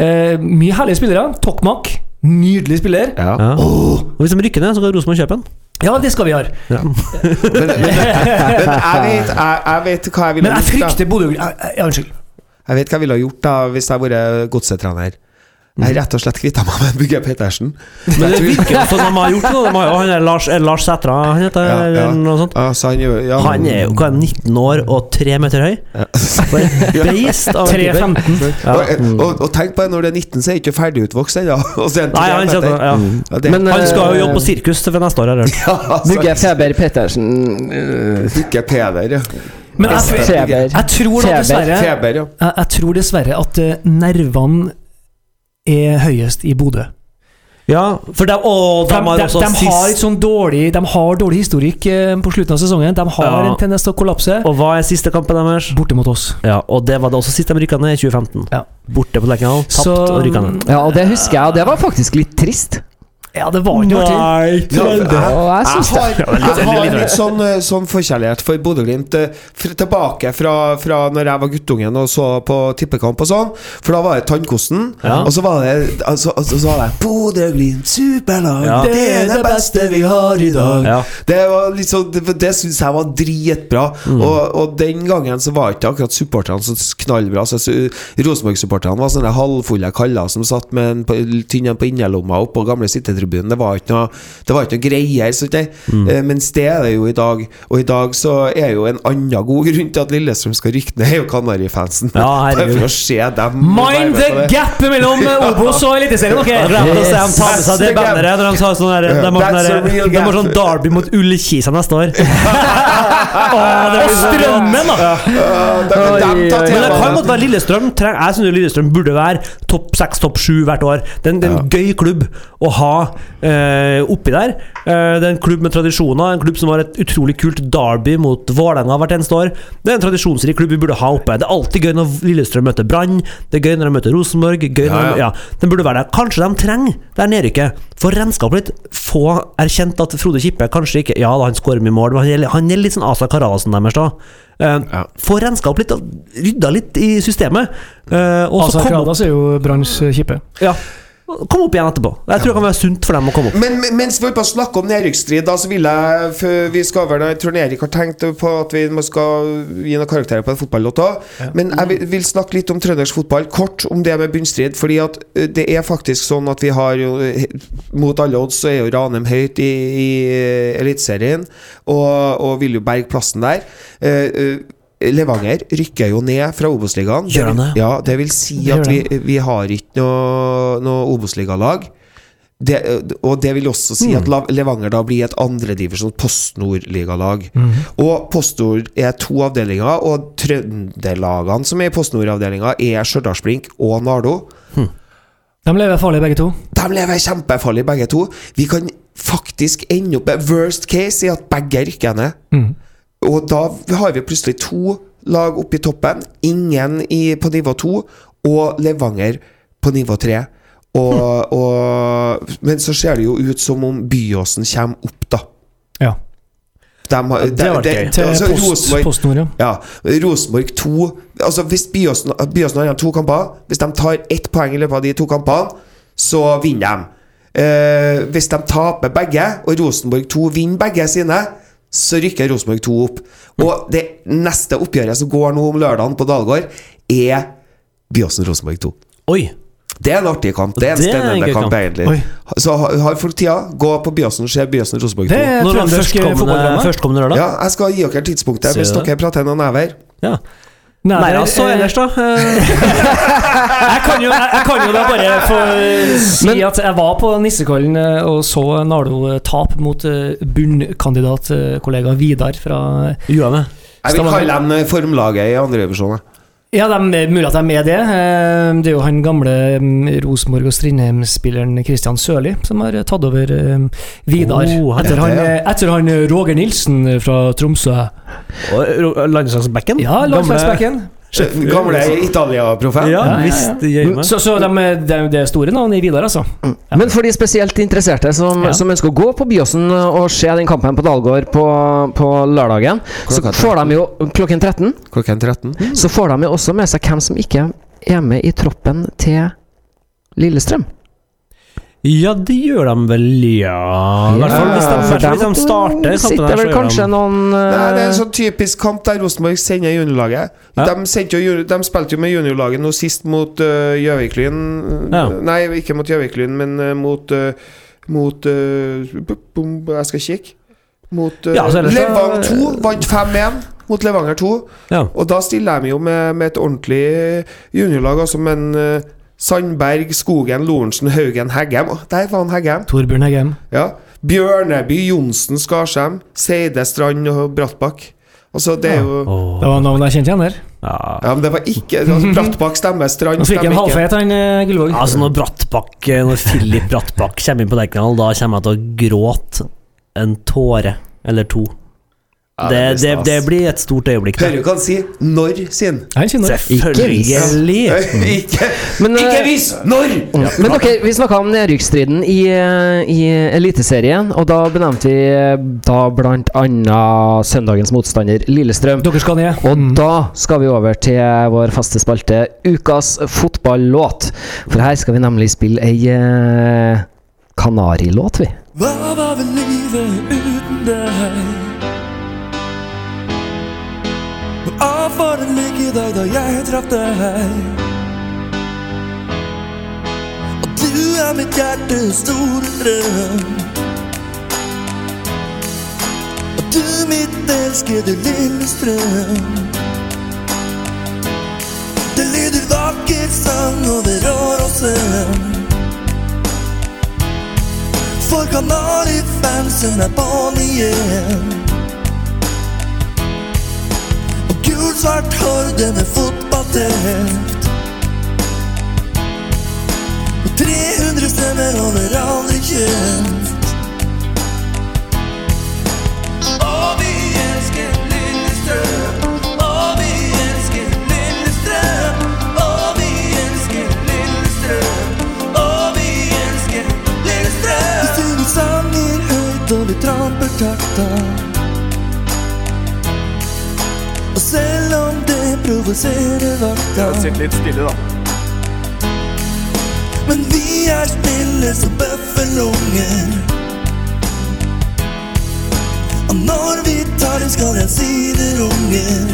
[SPEAKER 2] Eh, mye herlige spillere. Tokmak, nydelig spiller.
[SPEAKER 3] Ja.
[SPEAKER 4] Ja. Og hvis de rykker ned, så kan Rosenborg kjøpe den.
[SPEAKER 2] Ja, det skal vi gjøre.
[SPEAKER 3] Men, men, men jeg, vet, jeg, jeg vet hva
[SPEAKER 2] Men
[SPEAKER 3] jeg
[SPEAKER 2] jeg
[SPEAKER 3] ville ha gjort.
[SPEAKER 2] frykter Bodø-Glimt Ja, ja, Unnskyld.
[SPEAKER 3] Da. Jeg vet hva jeg ville ha gjort da hvis jeg hadde vært godsetrener. Jeg har rett og slett kvitta meg med Bugge Pettersen.
[SPEAKER 4] Men det virker jo som de har gjort noe. De har jo han der Lars, eh, Lars Sætra, han heter
[SPEAKER 3] Ja, ja.
[SPEAKER 4] eller noe sånt.
[SPEAKER 3] Altså, han, gjør- ja,
[SPEAKER 4] Han er jo hva, 19 år og 3 meter høy.
[SPEAKER 3] Ja.
[SPEAKER 4] Bare Beist av en keeper.
[SPEAKER 2] 3-15.
[SPEAKER 3] og, og, og tenk på det, når det er 19, så er ikke ferdigutvokst ennå. Og så er
[SPEAKER 4] Nei, han,
[SPEAKER 3] Bugge
[SPEAKER 4] kjenner,
[SPEAKER 3] Petter.
[SPEAKER 4] ja.
[SPEAKER 3] Ja, det-
[SPEAKER 1] Men,
[SPEAKER 4] han skal jo jobbe på
[SPEAKER 1] eh,
[SPEAKER 4] sirkus til neste år. har jeg hørt.
[SPEAKER 3] <laughs> Ja, altså,
[SPEAKER 1] Bugge Feber Pettersen eh,
[SPEAKER 3] Bugge Peder, ja.
[SPEAKER 2] Men jeg,
[SPEAKER 3] Beste.
[SPEAKER 2] jeg,
[SPEAKER 1] Feber.
[SPEAKER 2] tror da
[SPEAKER 1] Feber.
[SPEAKER 2] dessverre jeg,
[SPEAKER 3] Feber, ja.
[SPEAKER 2] jeg tror dessverre at eh, nervene er høyest i Bodø.
[SPEAKER 4] Ja, for de, å,
[SPEAKER 2] De,
[SPEAKER 4] de har
[SPEAKER 2] de,
[SPEAKER 4] også
[SPEAKER 2] de har
[SPEAKER 4] sist
[SPEAKER 2] litt sånn dårlig De har dårlig historikk eh, på slutten av sesongen. De har
[SPEAKER 4] Ja.
[SPEAKER 2] en tendens til å kollapse.
[SPEAKER 4] Og hva er siste kampen deres?
[SPEAKER 2] Borte mot oss.
[SPEAKER 4] Ja, og det var det også sist de rykka ned, i 2015.
[SPEAKER 2] Ja.
[SPEAKER 4] Borte på Lerkendal, tapt
[SPEAKER 2] Så mm,
[SPEAKER 4] og rykka ned.
[SPEAKER 1] Ja, og det husker jeg, og det var faktisk litt trist.
[SPEAKER 2] Ja, det var ikke artig.
[SPEAKER 3] Trønder.
[SPEAKER 1] Og jeg syns det. <laughs>
[SPEAKER 3] Jeg har, jeg har litt sånn, eh, sånn forkjærlighet for Bodø-Glimt eh, fr- tilbake fra, fra når jeg var guttungen og så på tippekamp og sånn. For da var det Tannkosten,
[SPEAKER 4] Ja.
[SPEAKER 3] og så var det altså, altså, så var det Bodø-Glimt superlag,
[SPEAKER 4] Ja.
[SPEAKER 3] det er det beste vi har i dag.
[SPEAKER 4] Ja.
[SPEAKER 3] Det, var liksom, det, det syns jeg var dritbra.
[SPEAKER 4] Mm.
[SPEAKER 3] Og, og den gangen så var ikke akkurat supporterne så knallbra. Så, så Rosenborg-supporterne var sånne halvfulle kaller som satt med en på, tynn en på innerlomma oppå gamle sittetribunen. Det var ikke noe, det var ikke noe greier. sånn det.
[SPEAKER 4] Mm.
[SPEAKER 3] Eh, Mens det er det jo i dag. Og i dag så er jo en annen god grunn til at Lillestrøm skal rykke ned, er jo Kanarifansen.
[SPEAKER 4] Ja,
[SPEAKER 3] <laughs> det
[SPEAKER 4] herregud.
[SPEAKER 3] er for å se dem
[SPEAKER 2] Mind
[SPEAKER 3] være med på
[SPEAKER 2] the
[SPEAKER 3] det.
[SPEAKER 2] gap mellom eh, Obos og Eliteserien,
[SPEAKER 4] Jeg
[SPEAKER 2] ok?
[SPEAKER 4] glemte å se
[SPEAKER 1] Yes.
[SPEAKER 4] dem ta med seg det
[SPEAKER 3] That's the
[SPEAKER 4] banneret når de sa sånn der, de, har sånn
[SPEAKER 3] That's
[SPEAKER 4] der,
[SPEAKER 3] a real
[SPEAKER 4] de har
[SPEAKER 3] gap.
[SPEAKER 4] sånn Derby mot Ullekisa neste
[SPEAKER 3] <laughs>
[SPEAKER 4] år.
[SPEAKER 2] Og strømmen, da!
[SPEAKER 3] Ja, det- men dem tar
[SPEAKER 1] Oi, oi, oi.
[SPEAKER 4] Men det
[SPEAKER 3] temaet.
[SPEAKER 4] kan godt være Lillestrøm treng, Jeg synes jo Lillestrøm burde være topp seks, topp sju hvert år. Det er en, det er en gøy klubb å ha eh, oppi der. Eh, det er en klubb med tradisjoner, en klubb som har et utrolig kult derby mot Vålerenga hvert eneste år. Det er en tradisjonsrik klubb vi burde ha oppe. Det er alltid gøy når Lillestrøm møter Brann, det er gøy når de møter Rosenborg. Gøy når
[SPEAKER 3] Ja,
[SPEAKER 4] de,
[SPEAKER 3] ja.
[SPEAKER 4] ja, den burde være der. Kanskje de trenger det her nedrykket. Få renska opp litt. Få erkjent at Frode Kippe kanskje ikke Ja da, han skårer mye mål, men han er- han er litt sånn Asa Karalsen deres, da. Eh,
[SPEAKER 3] Ja.
[SPEAKER 4] Få renska opp litt, og rydda litt i systemet. eh, og så
[SPEAKER 2] Altså,
[SPEAKER 4] kom, opp,
[SPEAKER 2] Kradas er jo Branns eh, kjipe.
[SPEAKER 4] ja, kom opp igjen etterpå. Jeg tror det kan være sunt for dem å komme opp.
[SPEAKER 3] Men men- mens vi holder på å snakke om nedrykksstrid, da, så vil jeg før Vi skal vel Jeg tror Erik har tenkt på at vi må skal gi noen karakterer på en fotballåt òg. Men jeg vil, vil snakke litt om trøndersk fotball. Kort om det med bunnstrid. Fordi at ø, det er faktisk sånn at vi har jo he- Mot alle odds så er jo Ranheim høyt i, i eh, Eliteserien, og, og vil jo berge plassen der. Eh, ø, Levanger rykker jo ned fra Obos-ligaen.
[SPEAKER 4] Gjør han det?
[SPEAKER 3] Ja, det vil si
[SPEAKER 2] Det
[SPEAKER 3] at vi,
[SPEAKER 2] gjør
[SPEAKER 3] vi har ikke noe, noe Obos-ligalag. Det, eh, og det vil også si
[SPEAKER 2] Mm.
[SPEAKER 3] at La- Levanger da blir et andredivisjon Post-Nord-ligalag.
[SPEAKER 2] Mm.
[SPEAKER 3] Og Post-Nord er to avdelinger, og trøndelagene som er i Post-Nord-avdelinga, er Stjørdalsblink og Nardo.
[SPEAKER 2] De lever farlig, begge to.
[SPEAKER 3] De lever kjempefarlig, begge to. Vi kan faktisk ende opp med Worst case er at begge rykker ned.
[SPEAKER 2] Mm.
[SPEAKER 3] Og da har vi plutselig to lag oppe i toppen. Ingen i, på nivå to, og Levanger på nivå tre. Og, og, men så ser det jo ut som om Byåsen kommer opp, da.
[SPEAKER 2] Ja.
[SPEAKER 3] De har,
[SPEAKER 4] det
[SPEAKER 3] de-
[SPEAKER 4] var
[SPEAKER 3] de-
[SPEAKER 4] gøy.
[SPEAKER 2] Til
[SPEAKER 3] altså,
[SPEAKER 2] post,
[SPEAKER 3] Rosenborg-
[SPEAKER 2] PostNord, ja.
[SPEAKER 3] ja, Rosenborg 2 Altså Hvis Byåsen, Byåsen har igjen to kamper Hvis de tar ett poeng i løpet av de to kampene, så vinner de. Eh, hvis de taper begge, og Rosenborg 2 vinner begge sine, så rykker Rosenborg 2 opp. Og det neste oppgjøret som går nå om lørdagen på Dalgård, er Byåsen-Rosenborg 2.
[SPEAKER 4] Oi!
[SPEAKER 3] Det er en artig kamp. Det er en
[SPEAKER 4] Det er en
[SPEAKER 3] spennende
[SPEAKER 4] gøy
[SPEAKER 3] kamp,
[SPEAKER 4] kamp.
[SPEAKER 3] egentlig.
[SPEAKER 4] Oi.
[SPEAKER 3] Så har har folk tida, gå på Byåsen og se Byåsen-Rosenborg 2.
[SPEAKER 2] Det er
[SPEAKER 4] Når var
[SPEAKER 2] trøndersk eh?
[SPEAKER 4] førstkommende,
[SPEAKER 1] eh,
[SPEAKER 2] fotballdrama.
[SPEAKER 4] førstkommende lørdag?
[SPEAKER 3] Ja, jeg skal gi dere tidspunktet
[SPEAKER 4] Sier
[SPEAKER 3] hvis
[SPEAKER 4] du det?
[SPEAKER 3] dere prater noen never.
[SPEAKER 4] Ja.
[SPEAKER 2] Nei,
[SPEAKER 4] Nei,
[SPEAKER 2] det er-
[SPEAKER 4] altså, ellers, da. eh,
[SPEAKER 2] Jeg kan jo, jeg, jeg kan jo da bare få si
[SPEAKER 1] Men-
[SPEAKER 2] at jeg var på Nissekollen eh, og så Nardo eh, tape mot eh, bunnkandidatkollega Vidar fra
[SPEAKER 4] Juane.
[SPEAKER 3] Jeg vil
[SPEAKER 2] Stavanger.
[SPEAKER 3] kalle dem eh, formlaget i andre divisjon. jeg.
[SPEAKER 2] Ja, det er mulig at de er med det. Eh, Det er jo han gamle eh, Rosenborg og Strindheim-spilleren Christian Sørli som har eh, tatt over eh, Vidar.
[SPEAKER 4] Oh, han
[SPEAKER 2] etter,
[SPEAKER 3] heter
[SPEAKER 2] han,
[SPEAKER 3] det,
[SPEAKER 2] eh, etter han eh, Roger Nilsen eh, fra Tromsø.
[SPEAKER 4] Landslagsbacken?
[SPEAKER 2] Ja, landslagsbacken.
[SPEAKER 3] Den Gamle Italia-proffen.
[SPEAKER 4] Ja,
[SPEAKER 2] ja, ja.
[SPEAKER 4] visst. jøye meg.
[SPEAKER 2] Så, så de, eh, de, det er store navn i Vidar, altså.
[SPEAKER 1] Men for de spesielt interesserte som,
[SPEAKER 2] Ja.
[SPEAKER 1] som ønsker å gå på Byåsen og se den kampen på Dalgård på, på lørdagen, så
[SPEAKER 3] Klokka
[SPEAKER 1] får de jo klokken 13
[SPEAKER 3] Klokken 13.
[SPEAKER 1] Så får de jo også med seg hvem som ikke er med i troppen til Lillestrøm.
[SPEAKER 4] Ja, det gjør de vel, ja. I hvert fall hvis de,
[SPEAKER 1] Ja,
[SPEAKER 4] hvert fall hvis de starter
[SPEAKER 1] dem
[SPEAKER 4] kampen
[SPEAKER 1] sitter
[SPEAKER 4] her,
[SPEAKER 1] vel
[SPEAKER 4] så
[SPEAKER 1] kanskje
[SPEAKER 4] gjør de
[SPEAKER 1] noen
[SPEAKER 3] Nei, det er en
[SPEAKER 1] eh,
[SPEAKER 3] sånn typisk kamp der Rosenborg sender juniorlaget.
[SPEAKER 4] Ja.
[SPEAKER 3] De, sendte jo, juni- de spilte jo med juniorlaget nå sist mot eh, Gjøviklyn
[SPEAKER 4] Ja.
[SPEAKER 3] Nei, ikke mot Gjøviklyn, men eh, mot eh, Mot eh, bu- bum, Jeg skal kikke. Mot eh,
[SPEAKER 4] Ja, så ellers så-
[SPEAKER 3] Levang 2 vant 5-1 mot Levanger 2.
[SPEAKER 4] ja.
[SPEAKER 3] Og da stiller de jo med, med et ordentlig juniorlag, altså med en eh, Sandberg, Skogen, Lorentzen, Haugen, Heggem. Å, Der var han Heggem.
[SPEAKER 2] Torbjørn Heggem.
[SPEAKER 3] Ja. Bjørneby, Johnsen, Skarsheim, Seide, Strand og Brattbakk. Altså, det er jo
[SPEAKER 2] Det var navn jeg kjente igjen der.
[SPEAKER 4] ja.
[SPEAKER 3] Ja, men det var ikke altså, Brattbakk stemmer, Strand
[SPEAKER 2] Han fikk en
[SPEAKER 3] stemmer ikke.
[SPEAKER 2] halvfeit, han eh, Gullvåg.
[SPEAKER 4] Altså Når Brattbakk Når Philip Brattbakk kommer inn på Lerkendal, da kommer jeg til å gråte en tåre eller to.
[SPEAKER 3] Ja, det blir
[SPEAKER 4] det, det,
[SPEAKER 3] stas.
[SPEAKER 4] det blir et stort øyeblikk.
[SPEAKER 3] Hører du hva han sier? Når
[SPEAKER 4] <laughs>
[SPEAKER 3] sin.
[SPEAKER 2] Han kjenner.
[SPEAKER 4] Selvfølgelig!
[SPEAKER 3] ikke
[SPEAKER 1] Men, eh,
[SPEAKER 3] ikke hvis! Når!
[SPEAKER 1] Men ok, vi snakka om nedrykksstriden i, eh, i Eliteserien, og da benevnte vi eh, da blant annet søndagens motstander Lillestrøm.
[SPEAKER 2] Dere skal ned.
[SPEAKER 1] Og
[SPEAKER 4] Mm.
[SPEAKER 1] da skal vi over til vår faste spalte Ukas fotballåt. For her skal vi nemlig spille ei eh, kanarilåt, vi.
[SPEAKER 5] Hva var vel livet uten deg? Og for en lykke dag da jeg traff deg. Og du er mitt hjertes store drøm. Og du mitt elskede lille strøm. Det lyder vakker sang, og det rår oss hjem. For Kanarifansen er på'n igjen. Og gul-svart horde med fotballtelt. Og 300 stemmer holder aldri kjent. Og vi elsker Lillestrøm. Og vi elsker Lillestrøm. Og vi elsker Lillestrøm. Og vi elsker Lillestrøm. Vi synger sanger høyt, og vi tramper takta. Og selv om det provoserer vakta
[SPEAKER 6] Sitt litt stille, da.
[SPEAKER 5] Men vi er stille som bøffelunger Og når vi tar dem skal jeg si det runger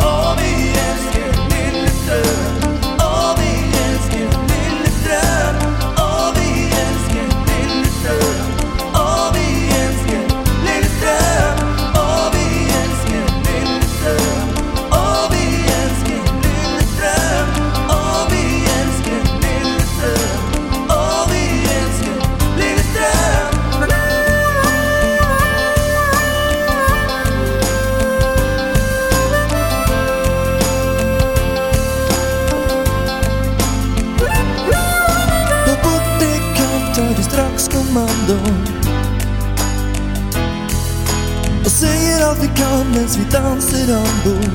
[SPEAKER 5] Og vi elsker Lillestrøm Og vi elsker Lillestrøm Og vi elsker Lillestrøm Og vi elsker Lillestrøm Og vi elsker Lillestrøm Og vi elsker Lillestrøm Og vi elsker Lillestrøm Og vi elsker Lillestrøm kommando Och säger allt vi kan mens vi dansar ombord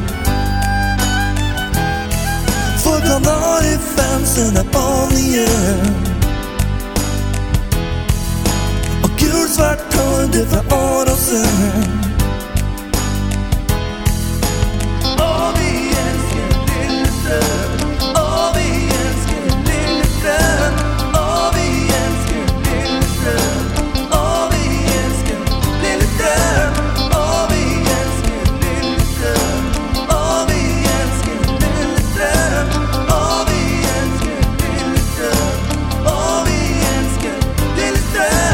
[SPEAKER 5] Får Kanariefansen upp on igen Och gulsvart hår du från Åråsen Og vi elsker Lillestrøm. Og vi elsker Lillestrøm. Og vi elsker Lillestrøm. Og vi elsker Lillestrøm. Og vi elsker Lillestrøm. Og vi elsker Lillestrøm. Og vi elsker Lillestrøm. Og vi elsker Lillestrøm.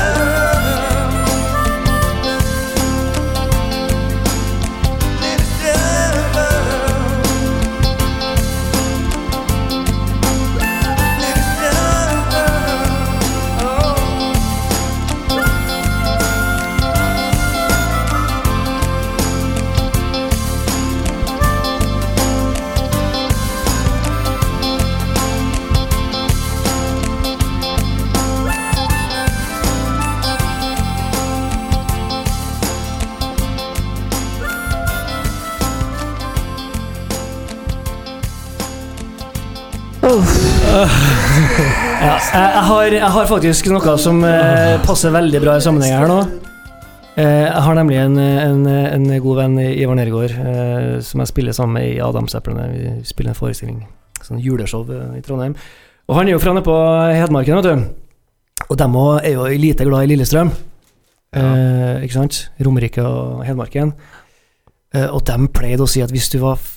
[SPEAKER 2] Ja, jeg, jeg, har, jeg har faktisk noe som eh, passer veldig bra i sammenheng her nå. Eh, jeg har nemlig en, en, en god venn, Ivar Nergård, eh, som jeg spiller sammen med i Adamseplene. Vi spiller en forestilling, sånn juleshow eh, i Trondheim. Og han er jo fra nede på Hedmarken, vet du. Og dem òg er jo lite glad i Lillestrøm. Eh, ikke sant? Romerike og Hedmarken. Eh, og dem pleide å si at hvis du var fæl,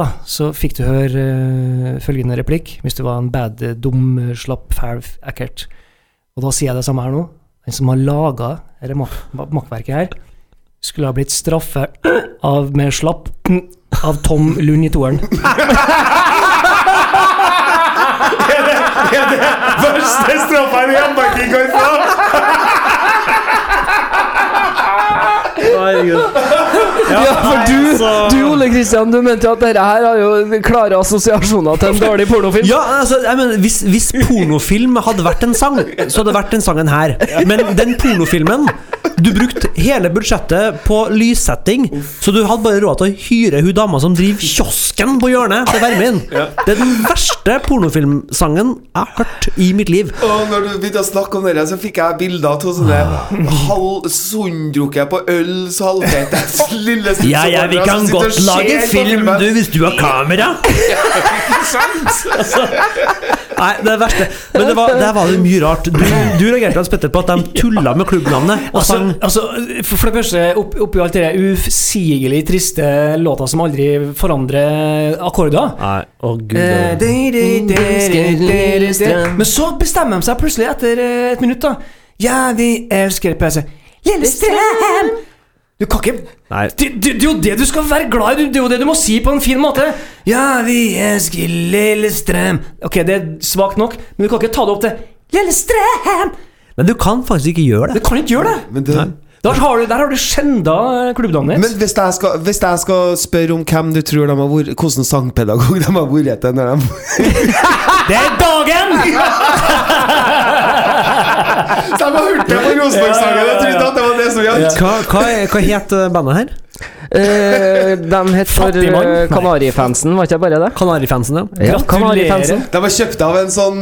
[SPEAKER 2] da, så fikk du høre eh, følgende replikk. Hvis du var en bad, eh, dum, slapp, fæl, f- ekkelt. Og da sier jeg det samme her nå. Den som har laga dette mak mak- makkverket her, skulle ha blitt straffa <clears throat> av med slapp <clears throat> av Tom Lund i toeren.
[SPEAKER 3] Verste straffa en hjemmemarking kan
[SPEAKER 4] <laughs>
[SPEAKER 3] få!
[SPEAKER 4] Herregud. Ja,
[SPEAKER 1] for du,
[SPEAKER 4] altså-
[SPEAKER 1] du Ole Kristian, du mente jo at dette her har jo klare assosiasjoner til en dårlig pornofilm.
[SPEAKER 4] Ja, altså, jeg mener, hvis, hvis pornofilm hadde vært en sang, så hadde det vært den sangen her. Men den pornofilmen Du brukte hele budsjettet på lyssetting, så du hadde bare råd til å hyre hun dama som driver kiosken på hjørnet til Vermin. Det er den verste pornofilmsangen jeg har hørt i mitt liv.
[SPEAKER 3] Og når du begynte å snakke om det, så fikk jeg bilder av to sånne halv sunndrukne på øl, så
[SPEAKER 4] <laughs>
[SPEAKER 3] halvfete lille
[SPEAKER 4] Ja, ja, vi kan godt lage film, du, hvis du har kamera. <laughs> Altså, nei, det er det verste. Men det var, der var det mye rart. Du, du reagerte Hans Petter på at de tulla med klubbnavnet. Og
[SPEAKER 2] Altså,
[SPEAKER 4] sang
[SPEAKER 2] altså, for, for det første, opp, oppi alt det der usigelig triste låta som aldri forandrer akkorder
[SPEAKER 4] Nei, å gud
[SPEAKER 2] Eh,
[SPEAKER 4] det-
[SPEAKER 2] de- de- de- de- de- de- Men så bestemmer de seg plutselig etter eh, et minutt, da. Ja, vi elsker PC. Lillestrøm! Du kan ikke
[SPEAKER 4] Nei.
[SPEAKER 2] det, det, det er jo det du skal være glad i. Det er jo det du må si på en fin måte. Ja, vi elsker Lillestrøm. Ok, det er svakt nok, men du kan ikke ta det opp til Lillestrøm!
[SPEAKER 4] Men du kan faktisk ikke gjøre
[SPEAKER 2] Du
[SPEAKER 4] det.
[SPEAKER 2] kan ikke gjøre det!
[SPEAKER 3] Men, det,
[SPEAKER 2] Der har du, der har du skjenda eh, klubbnavnet
[SPEAKER 3] men
[SPEAKER 2] ditt.
[SPEAKER 3] hvis, jeg skal, hvis jeg skal spørre om hvem du tror de har vært Hvordan sangpedagog de har vært til når de
[SPEAKER 2] Det er dagen!
[SPEAKER 3] Så jeg har hørt det på Rosenborg-sangen! Jeg trodde at det var det som gjaldt.
[SPEAKER 4] Hva, hva, er- hva het eh, bandet her?
[SPEAKER 1] Eh, de het for
[SPEAKER 2] Fattigmann?
[SPEAKER 1] eh,
[SPEAKER 2] Nei.
[SPEAKER 1] Kanarifansen, var ikke det bare det?
[SPEAKER 4] Kanarifansen, ja.
[SPEAKER 1] Ja,
[SPEAKER 2] Gratulerer.
[SPEAKER 1] Kanarifansen.
[SPEAKER 3] De var kjøpt av en sånn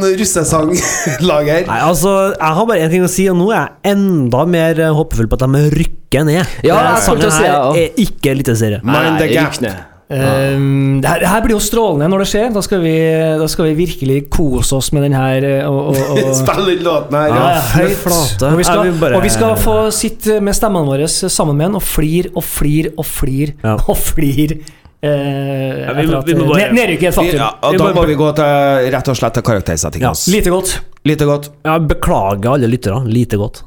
[SPEAKER 3] <laughs> russesanglager.
[SPEAKER 4] Nei, altså, Jeg har bare én ting å si, og nå er jeg enda mer eh, håpefull på at de rykker ned.
[SPEAKER 1] Ja,
[SPEAKER 4] Den
[SPEAKER 1] jeg skulle
[SPEAKER 4] sangen
[SPEAKER 1] til å si det,
[SPEAKER 4] her
[SPEAKER 1] ja.
[SPEAKER 4] er ikke eliteserie.
[SPEAKER 3] Mind the gap.
[SPEAKER 2] Um, det, her, det her blir jo strålende når det skjer. Da skal vi, da skal vi virkelig kose oss med den her. eh, Og, og,
[SPEAKER 3] <laughs>
[SPEAKER 2] og,
[SPEAKER 3] Spill den låten her.
[SPEAKER 2] ja,
[SPEAKER 3] Ja.
[SPEAKER 2] ja,
[SPEAKER 4] fy
[SPEAKER 2] høyt.
[SPEAKER 4] flate.
[SPEAKER 2] Og vi, skal,
[SPEAKER 4] Jeg vil bare-
[SPEAKER 2] og vi skal få sitte med stemmene våre sammen med den og flir og flir og flir
[SPEAKER 4] Ja.
[SPEAKER 2] <laughs> og flir. Eh,
[SPEAKER 4] vi må-
[SPEAKER 2] etter at,
[SPEAKER 4] vi må bare-
[SPEAKER 2] ne- Nedrykk er et faktum.
[SPEAKER 3] Ja, og da må vi gå til rett og slett til karaktersetting.
[SPEAKER 4] Ja,
[SPEAKER 3] altså.
[SPEAKER 2] Lite godt.
[SPEAKER 3] Lite <laughs> godt.
[SPEAKER 4] Jeg beklager alle lyttere. Lite godt.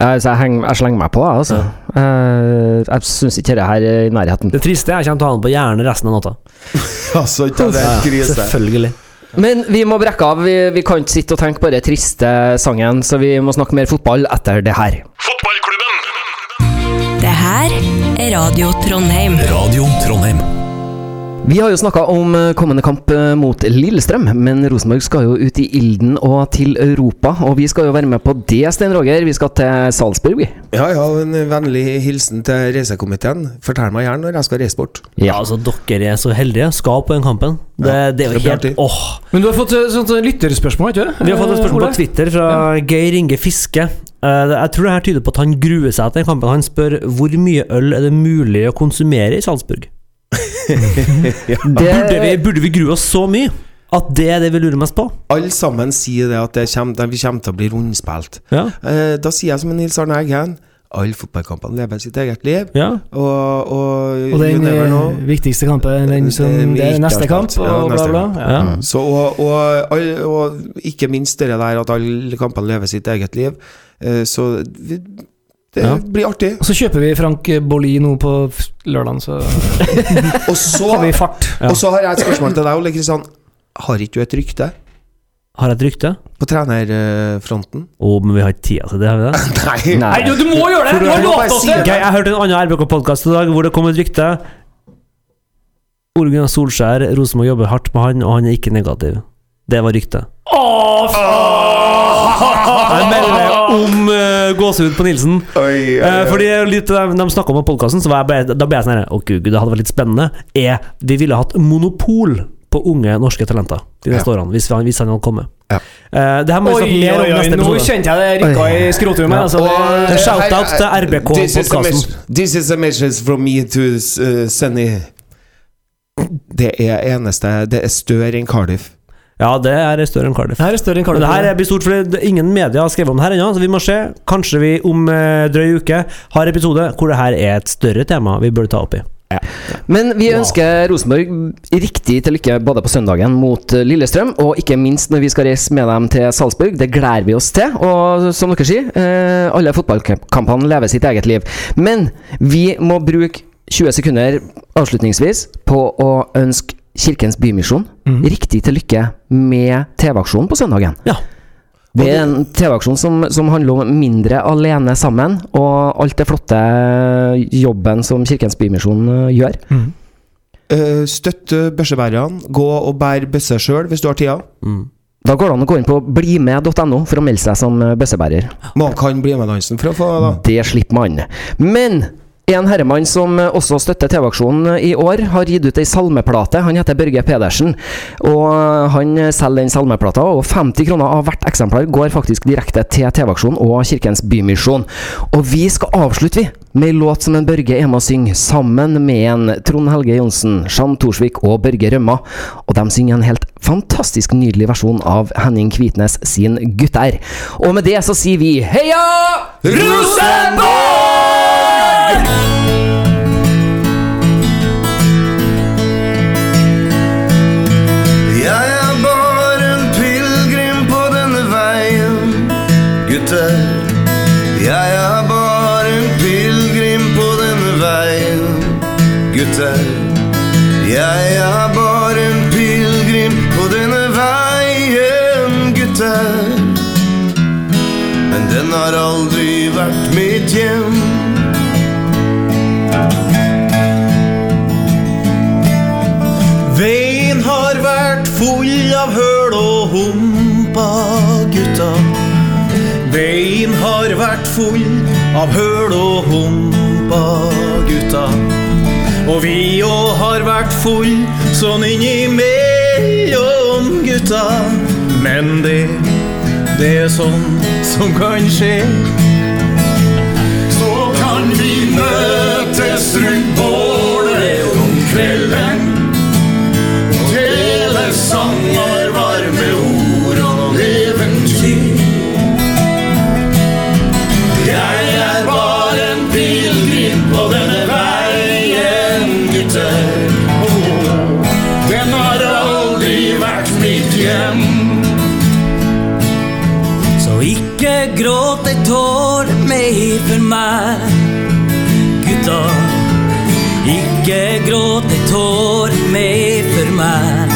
[SPEAKER 1] Ja, så jeg, henger, jeg slenger meg på, jeg, altså. Eh, jeg syns ikke dette her er i nærheten.
[SPEAKER 4] Det triste er jeg kommer til å ha den på hjernen resten av natta.
[SPEAKER 3] Altså, ikke det er krise.
[SPEAKER 4] Selvfølgelig.
[SPEAKER 1] Men vi må brekke av. Vi, vi kan ikke sitte og tenke bare triste sangen, så vi må snakke mer fotball etter det her.
[SPEAKER 6] Fotballklubben.
[SPEAKER 7] Det her er Radio Trondheim.
[SPEAKER 8] Radio Trondheim.
[SPEAKER 1] Vi har jo snakka om eh, kommende kamp eh, mot Lillestrøm, men Rosenborg skal jo ut i ilden og til Europa. Og vi skal jo være med på det, Stein Roger. Vi skal til Salzburg, vi.
[SPEAKER 3] Ja, ja, en vennlig hilsen til reisekomiteen. Fortell meg gjerne når jeg skal reise bort.
[SPEAKER 1] Ja.
[SPEAKER 4] Ja, altså Dere er så heldige. Skal på den kampen. Det,
[SPEAKER 3] Ja,
[SPEAKER 4] det er
[SPEAKER 3] det
[SPEAKER 4] jo
[SPEAKER 3] blir
[SPEAKER 4] helt
[SPEAKER 3] artig.
[SPEAKER 4] åh
[SPEAKER 2] Men du har fått eh, sånt eh, lytterspørsmål, ikke sant?
[SPEAKER 4] Vi har fått et spørsmål på Twitter fra Geir Inge Fiske. Eh, det- Jeg tror det her tyder på at han gruer seg til den kampen. Han spør hvor mye øl er det mulig å
[SPEAKER 3] <laughs>
[SPEAKER 4] konsumere i Salzburg? Burde vi, burde vi grue oss så mye at det er det vi lurer mest på?
[SPEAKER 3] Alle sammen sier det at det kjem, de, vi kommer til å bli rundspilt.
[SPEAKER 4] Ja.
[SPEAKER 3] Eh, da sier jeg som en Nils Arne Eggen. Alle fotballkampene lever sitt eget liv.
[SPEAKER 4] ja.
[SPEAKER 3] Og, og,
[SPEAKER 2] Og
[SPEAKER 3] you
[SPEAKER 2] den
[SPEAKER 3] never know.
[SPEAKER 2] eh, viktigste kampen, den
[SPEAKER 3] Eh,
[SPEAKER 2] som
[SPEAKER 3] vi
[SPEAKER 2] det er
[SPEAKER 3] ikke
[SPEAKER 2] neste
[SPEAKER 3] har
[SPEAKER 2] kamp,
[SPEAKER 3] spilt. Ja,
[SPEAKER 2] og bla,
[SPEAKER 3] neste
[SPEAKER 2] bla.
[SPEAKER 3] kamp.
[SPEAKER 2] Ja.
[SPEAKER 4] ja.
[SPEAKER 3] Så, og, og, all- og ikke minst det der at alle kampene lever sitt eget liv. Eh, Så vi, det
[SPEAKER 4] Ja.
[SPEAKER 3] blir artig.
[SPEAKER 2] Og så kjøper vi Frank Bolli nå på f- lørdagen, så
[SPEAKER 3] Og så,
[SPEAKER 2] har vi fart.
[SPEAKER 4] <laughs> Ja.
[SPEAKER 3] og så har jeg et spørsmål til deg, Ole Kristian. Har ikke du et rykte
[SPEAKER 4] Har jeg et rykte?
[SPEAKER 3] på trenerfronten?
[SPEAKER 4] Å, men vi har ikke tida til det, har vi det?
[SPEAKER 3] Nei.
[SPEAKER 1] Nei.
[SPEAKER 2] Nei, du, du må gjøre det!
[SPEAKER 3] For
[SPEAKER 2] Du har
[SPEAKER 3] du må
[SPEAKER 2] lovt
[SPEAKER 3] bare
[SPEAKER 2] oss
[SPEAKER 3] si
[SPEAKER 2] det!
[SPEAKER 3] det.
[SPEAKER 4] Ok, jeg hørte en annen RBK-podkast i dag hvor det kom et rykte. Ole Gunnar Solskjær, Rosenborg jobber hardt med han, og han er ikke negativ. Det var ryktet.
[SPEAKER 3] Ah!
[SPEAKER 4] Jeg melder om uh, gåsehud på Nilsen.
[SPEAKER 3] Oi, oi,
[SPEAKER 4] Eh,
[SPEAKER 3] oi.
[SPEAKER 4] fordi litt, av dem- De snakka om podkasten, så var jeg, bare- da ble jeg sånn her Å, gud, det hadde vært litt spennende. Er, vi ville hatt monopol på unge norske talenter de neste årene, hvis han, hvis han hadde kommet.
[SPEAKER 3] Ja.
[SPEAKER 4] Eh, det her må vi
[SPEAKER 2] Oi,
[SPEAKER 4] snakke mer om
[SPEAKER 2] oi, oi,
[SPEAKER 4] neste
[SPEAKER 2] nå
[SPEAKER 4] episode.
[SPEAKER 2] kjente jeg det rykka i skrotrommet.
[SPEAKER 4] Ja.
[SPEAKER 2] Altså,
[SPEAKER 3] Og- eh,
[SPEAKER 4] En
[SPEAKER 2] det-
[SPEAKER 4] shout-out til
[SPEAKER 3] Hei, hei, This is a
[SPEAKER 4] RBK-podkasten.
[SPEAKER 3] message- This is a message from me to uh, Sunny. Det er eneste Det er større enn Cardiff.
[SPEAKER 4] Ja, det er større enn Cardiff.
[SPEAKER 2] det her er større enn
[SPEAKER 4] Men
[SPEAKER 2] Carlo.
[SPEAKER 4] det her er- blir stort, for det- ingen media har skrevet om det her ennå, så vi må se. Kanskje vi om eh, drøy uke har episode hvor det her er et større tema vi burde ta opp i.
[SPEAKER 1] Men vi ønsker Rosenborg riktig til lykke både på søndagen mot eh, Lillestrøm, og ikke minst når vi skal reise med dem til Salzburg. Det gleder vi oss til. Og som dere sier, eh, alle fotballkampene lever sitt eget liv. Men vi må bruke 20 sekunder avslutningsvis på å ønske Kirkens Bymisjon riktig til lykke med TV-aksjonen på søndagen.
[SPEAKER 4] Ja.
[SPEAKER 1] Det er en TV-aksjon som, som handler om mindre alene sammen, og alt det flotte jobben som Kirkens Bymisjon eh, gjør.
[SPEAKER 3] Uh, støtt uh, børsebærerne. Gå og bær bøsse sjøl hvis du har tida.
[SPEAKER 1] Da går det an å gå inn på blimed.no for å melde seg som eh, bøssebærer.
[SPEAKER 3] Man kan bli med dansen for å få da.
[SPEAKER 1] Det slipper man. Men en herremann som eh, også støtter TV-aksjonen i år, har gitt ut ei salmeplate. Han heter Børge Pedersen. Og eh, han eh, selger den salmeplata, og 50 kroner av hvert eksemplar går faktisk direkte til TV-aksjonen og Kirkens Bymisjon. Og vi skal avslutte, vi, med ei låt som en Børge er med å synge, sammen med en Trond Helge Johnsen, Jean Thorsvik og Børge Rømma. Og de synger en helt fantastisk nydelig versjon av Henning Kvitnes sin 'Gutter'. Og med det så sier vi heia!
[SPEAKER 6] Jeg er bare en pilegrim på denne veien, gutter. Jeg er bare en pilegrim på denne veien, gutter. Jeg er bare en pilegrim på denne veien, gutter. Men den har aldri vært mitt hjem. Veien har vært full av høl og humpa, gutta. Veien har vært full av høl og humpa, gutta. Og vi òg har vært full sånn innimellom, gutta. Men det, det er sånn som kan skje. Så kan vi møtes rundt bålet om kvelden. Hele sanger, varme ord og eventyr. Jeg er bare en pilegrim på denne veien, gutter. Den har aldri vært mitt hjem.
[SPEAKER 5] Så ikke gråt ei tåre mer for meg, gutta. Ikke gråt ei tåre mer for meg,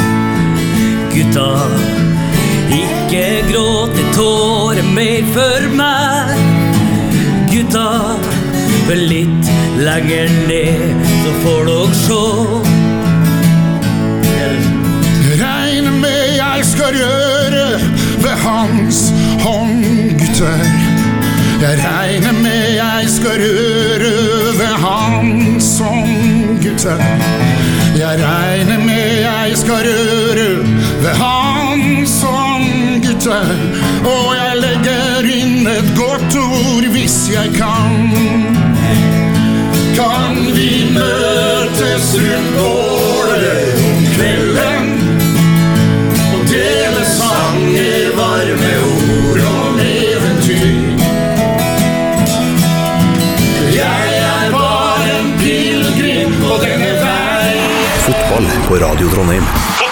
[SPEAKER 5] gutta. Ikke gråt ei tåre mer for meg, gutta. For litt lenger ned så får dere sjå.
[SPEAKER 6] bør gjøre ved hans hånd, gutter. Jeg regner med jeg skal røre ved hans hånd, gutter. Jeg regner med jeg skal røre ved hans hånd, gutter. Og jeg legger inn et godt ord hvis jeg kan kan vi møtes rundt bålet om kvelden og dele sanger, varme ord om eventyr. Jeg er bare en pilegrim på denne veien.
[SPEAKER 9] Fotball på Radio Trondheim. Fotball på Radio Trondheim.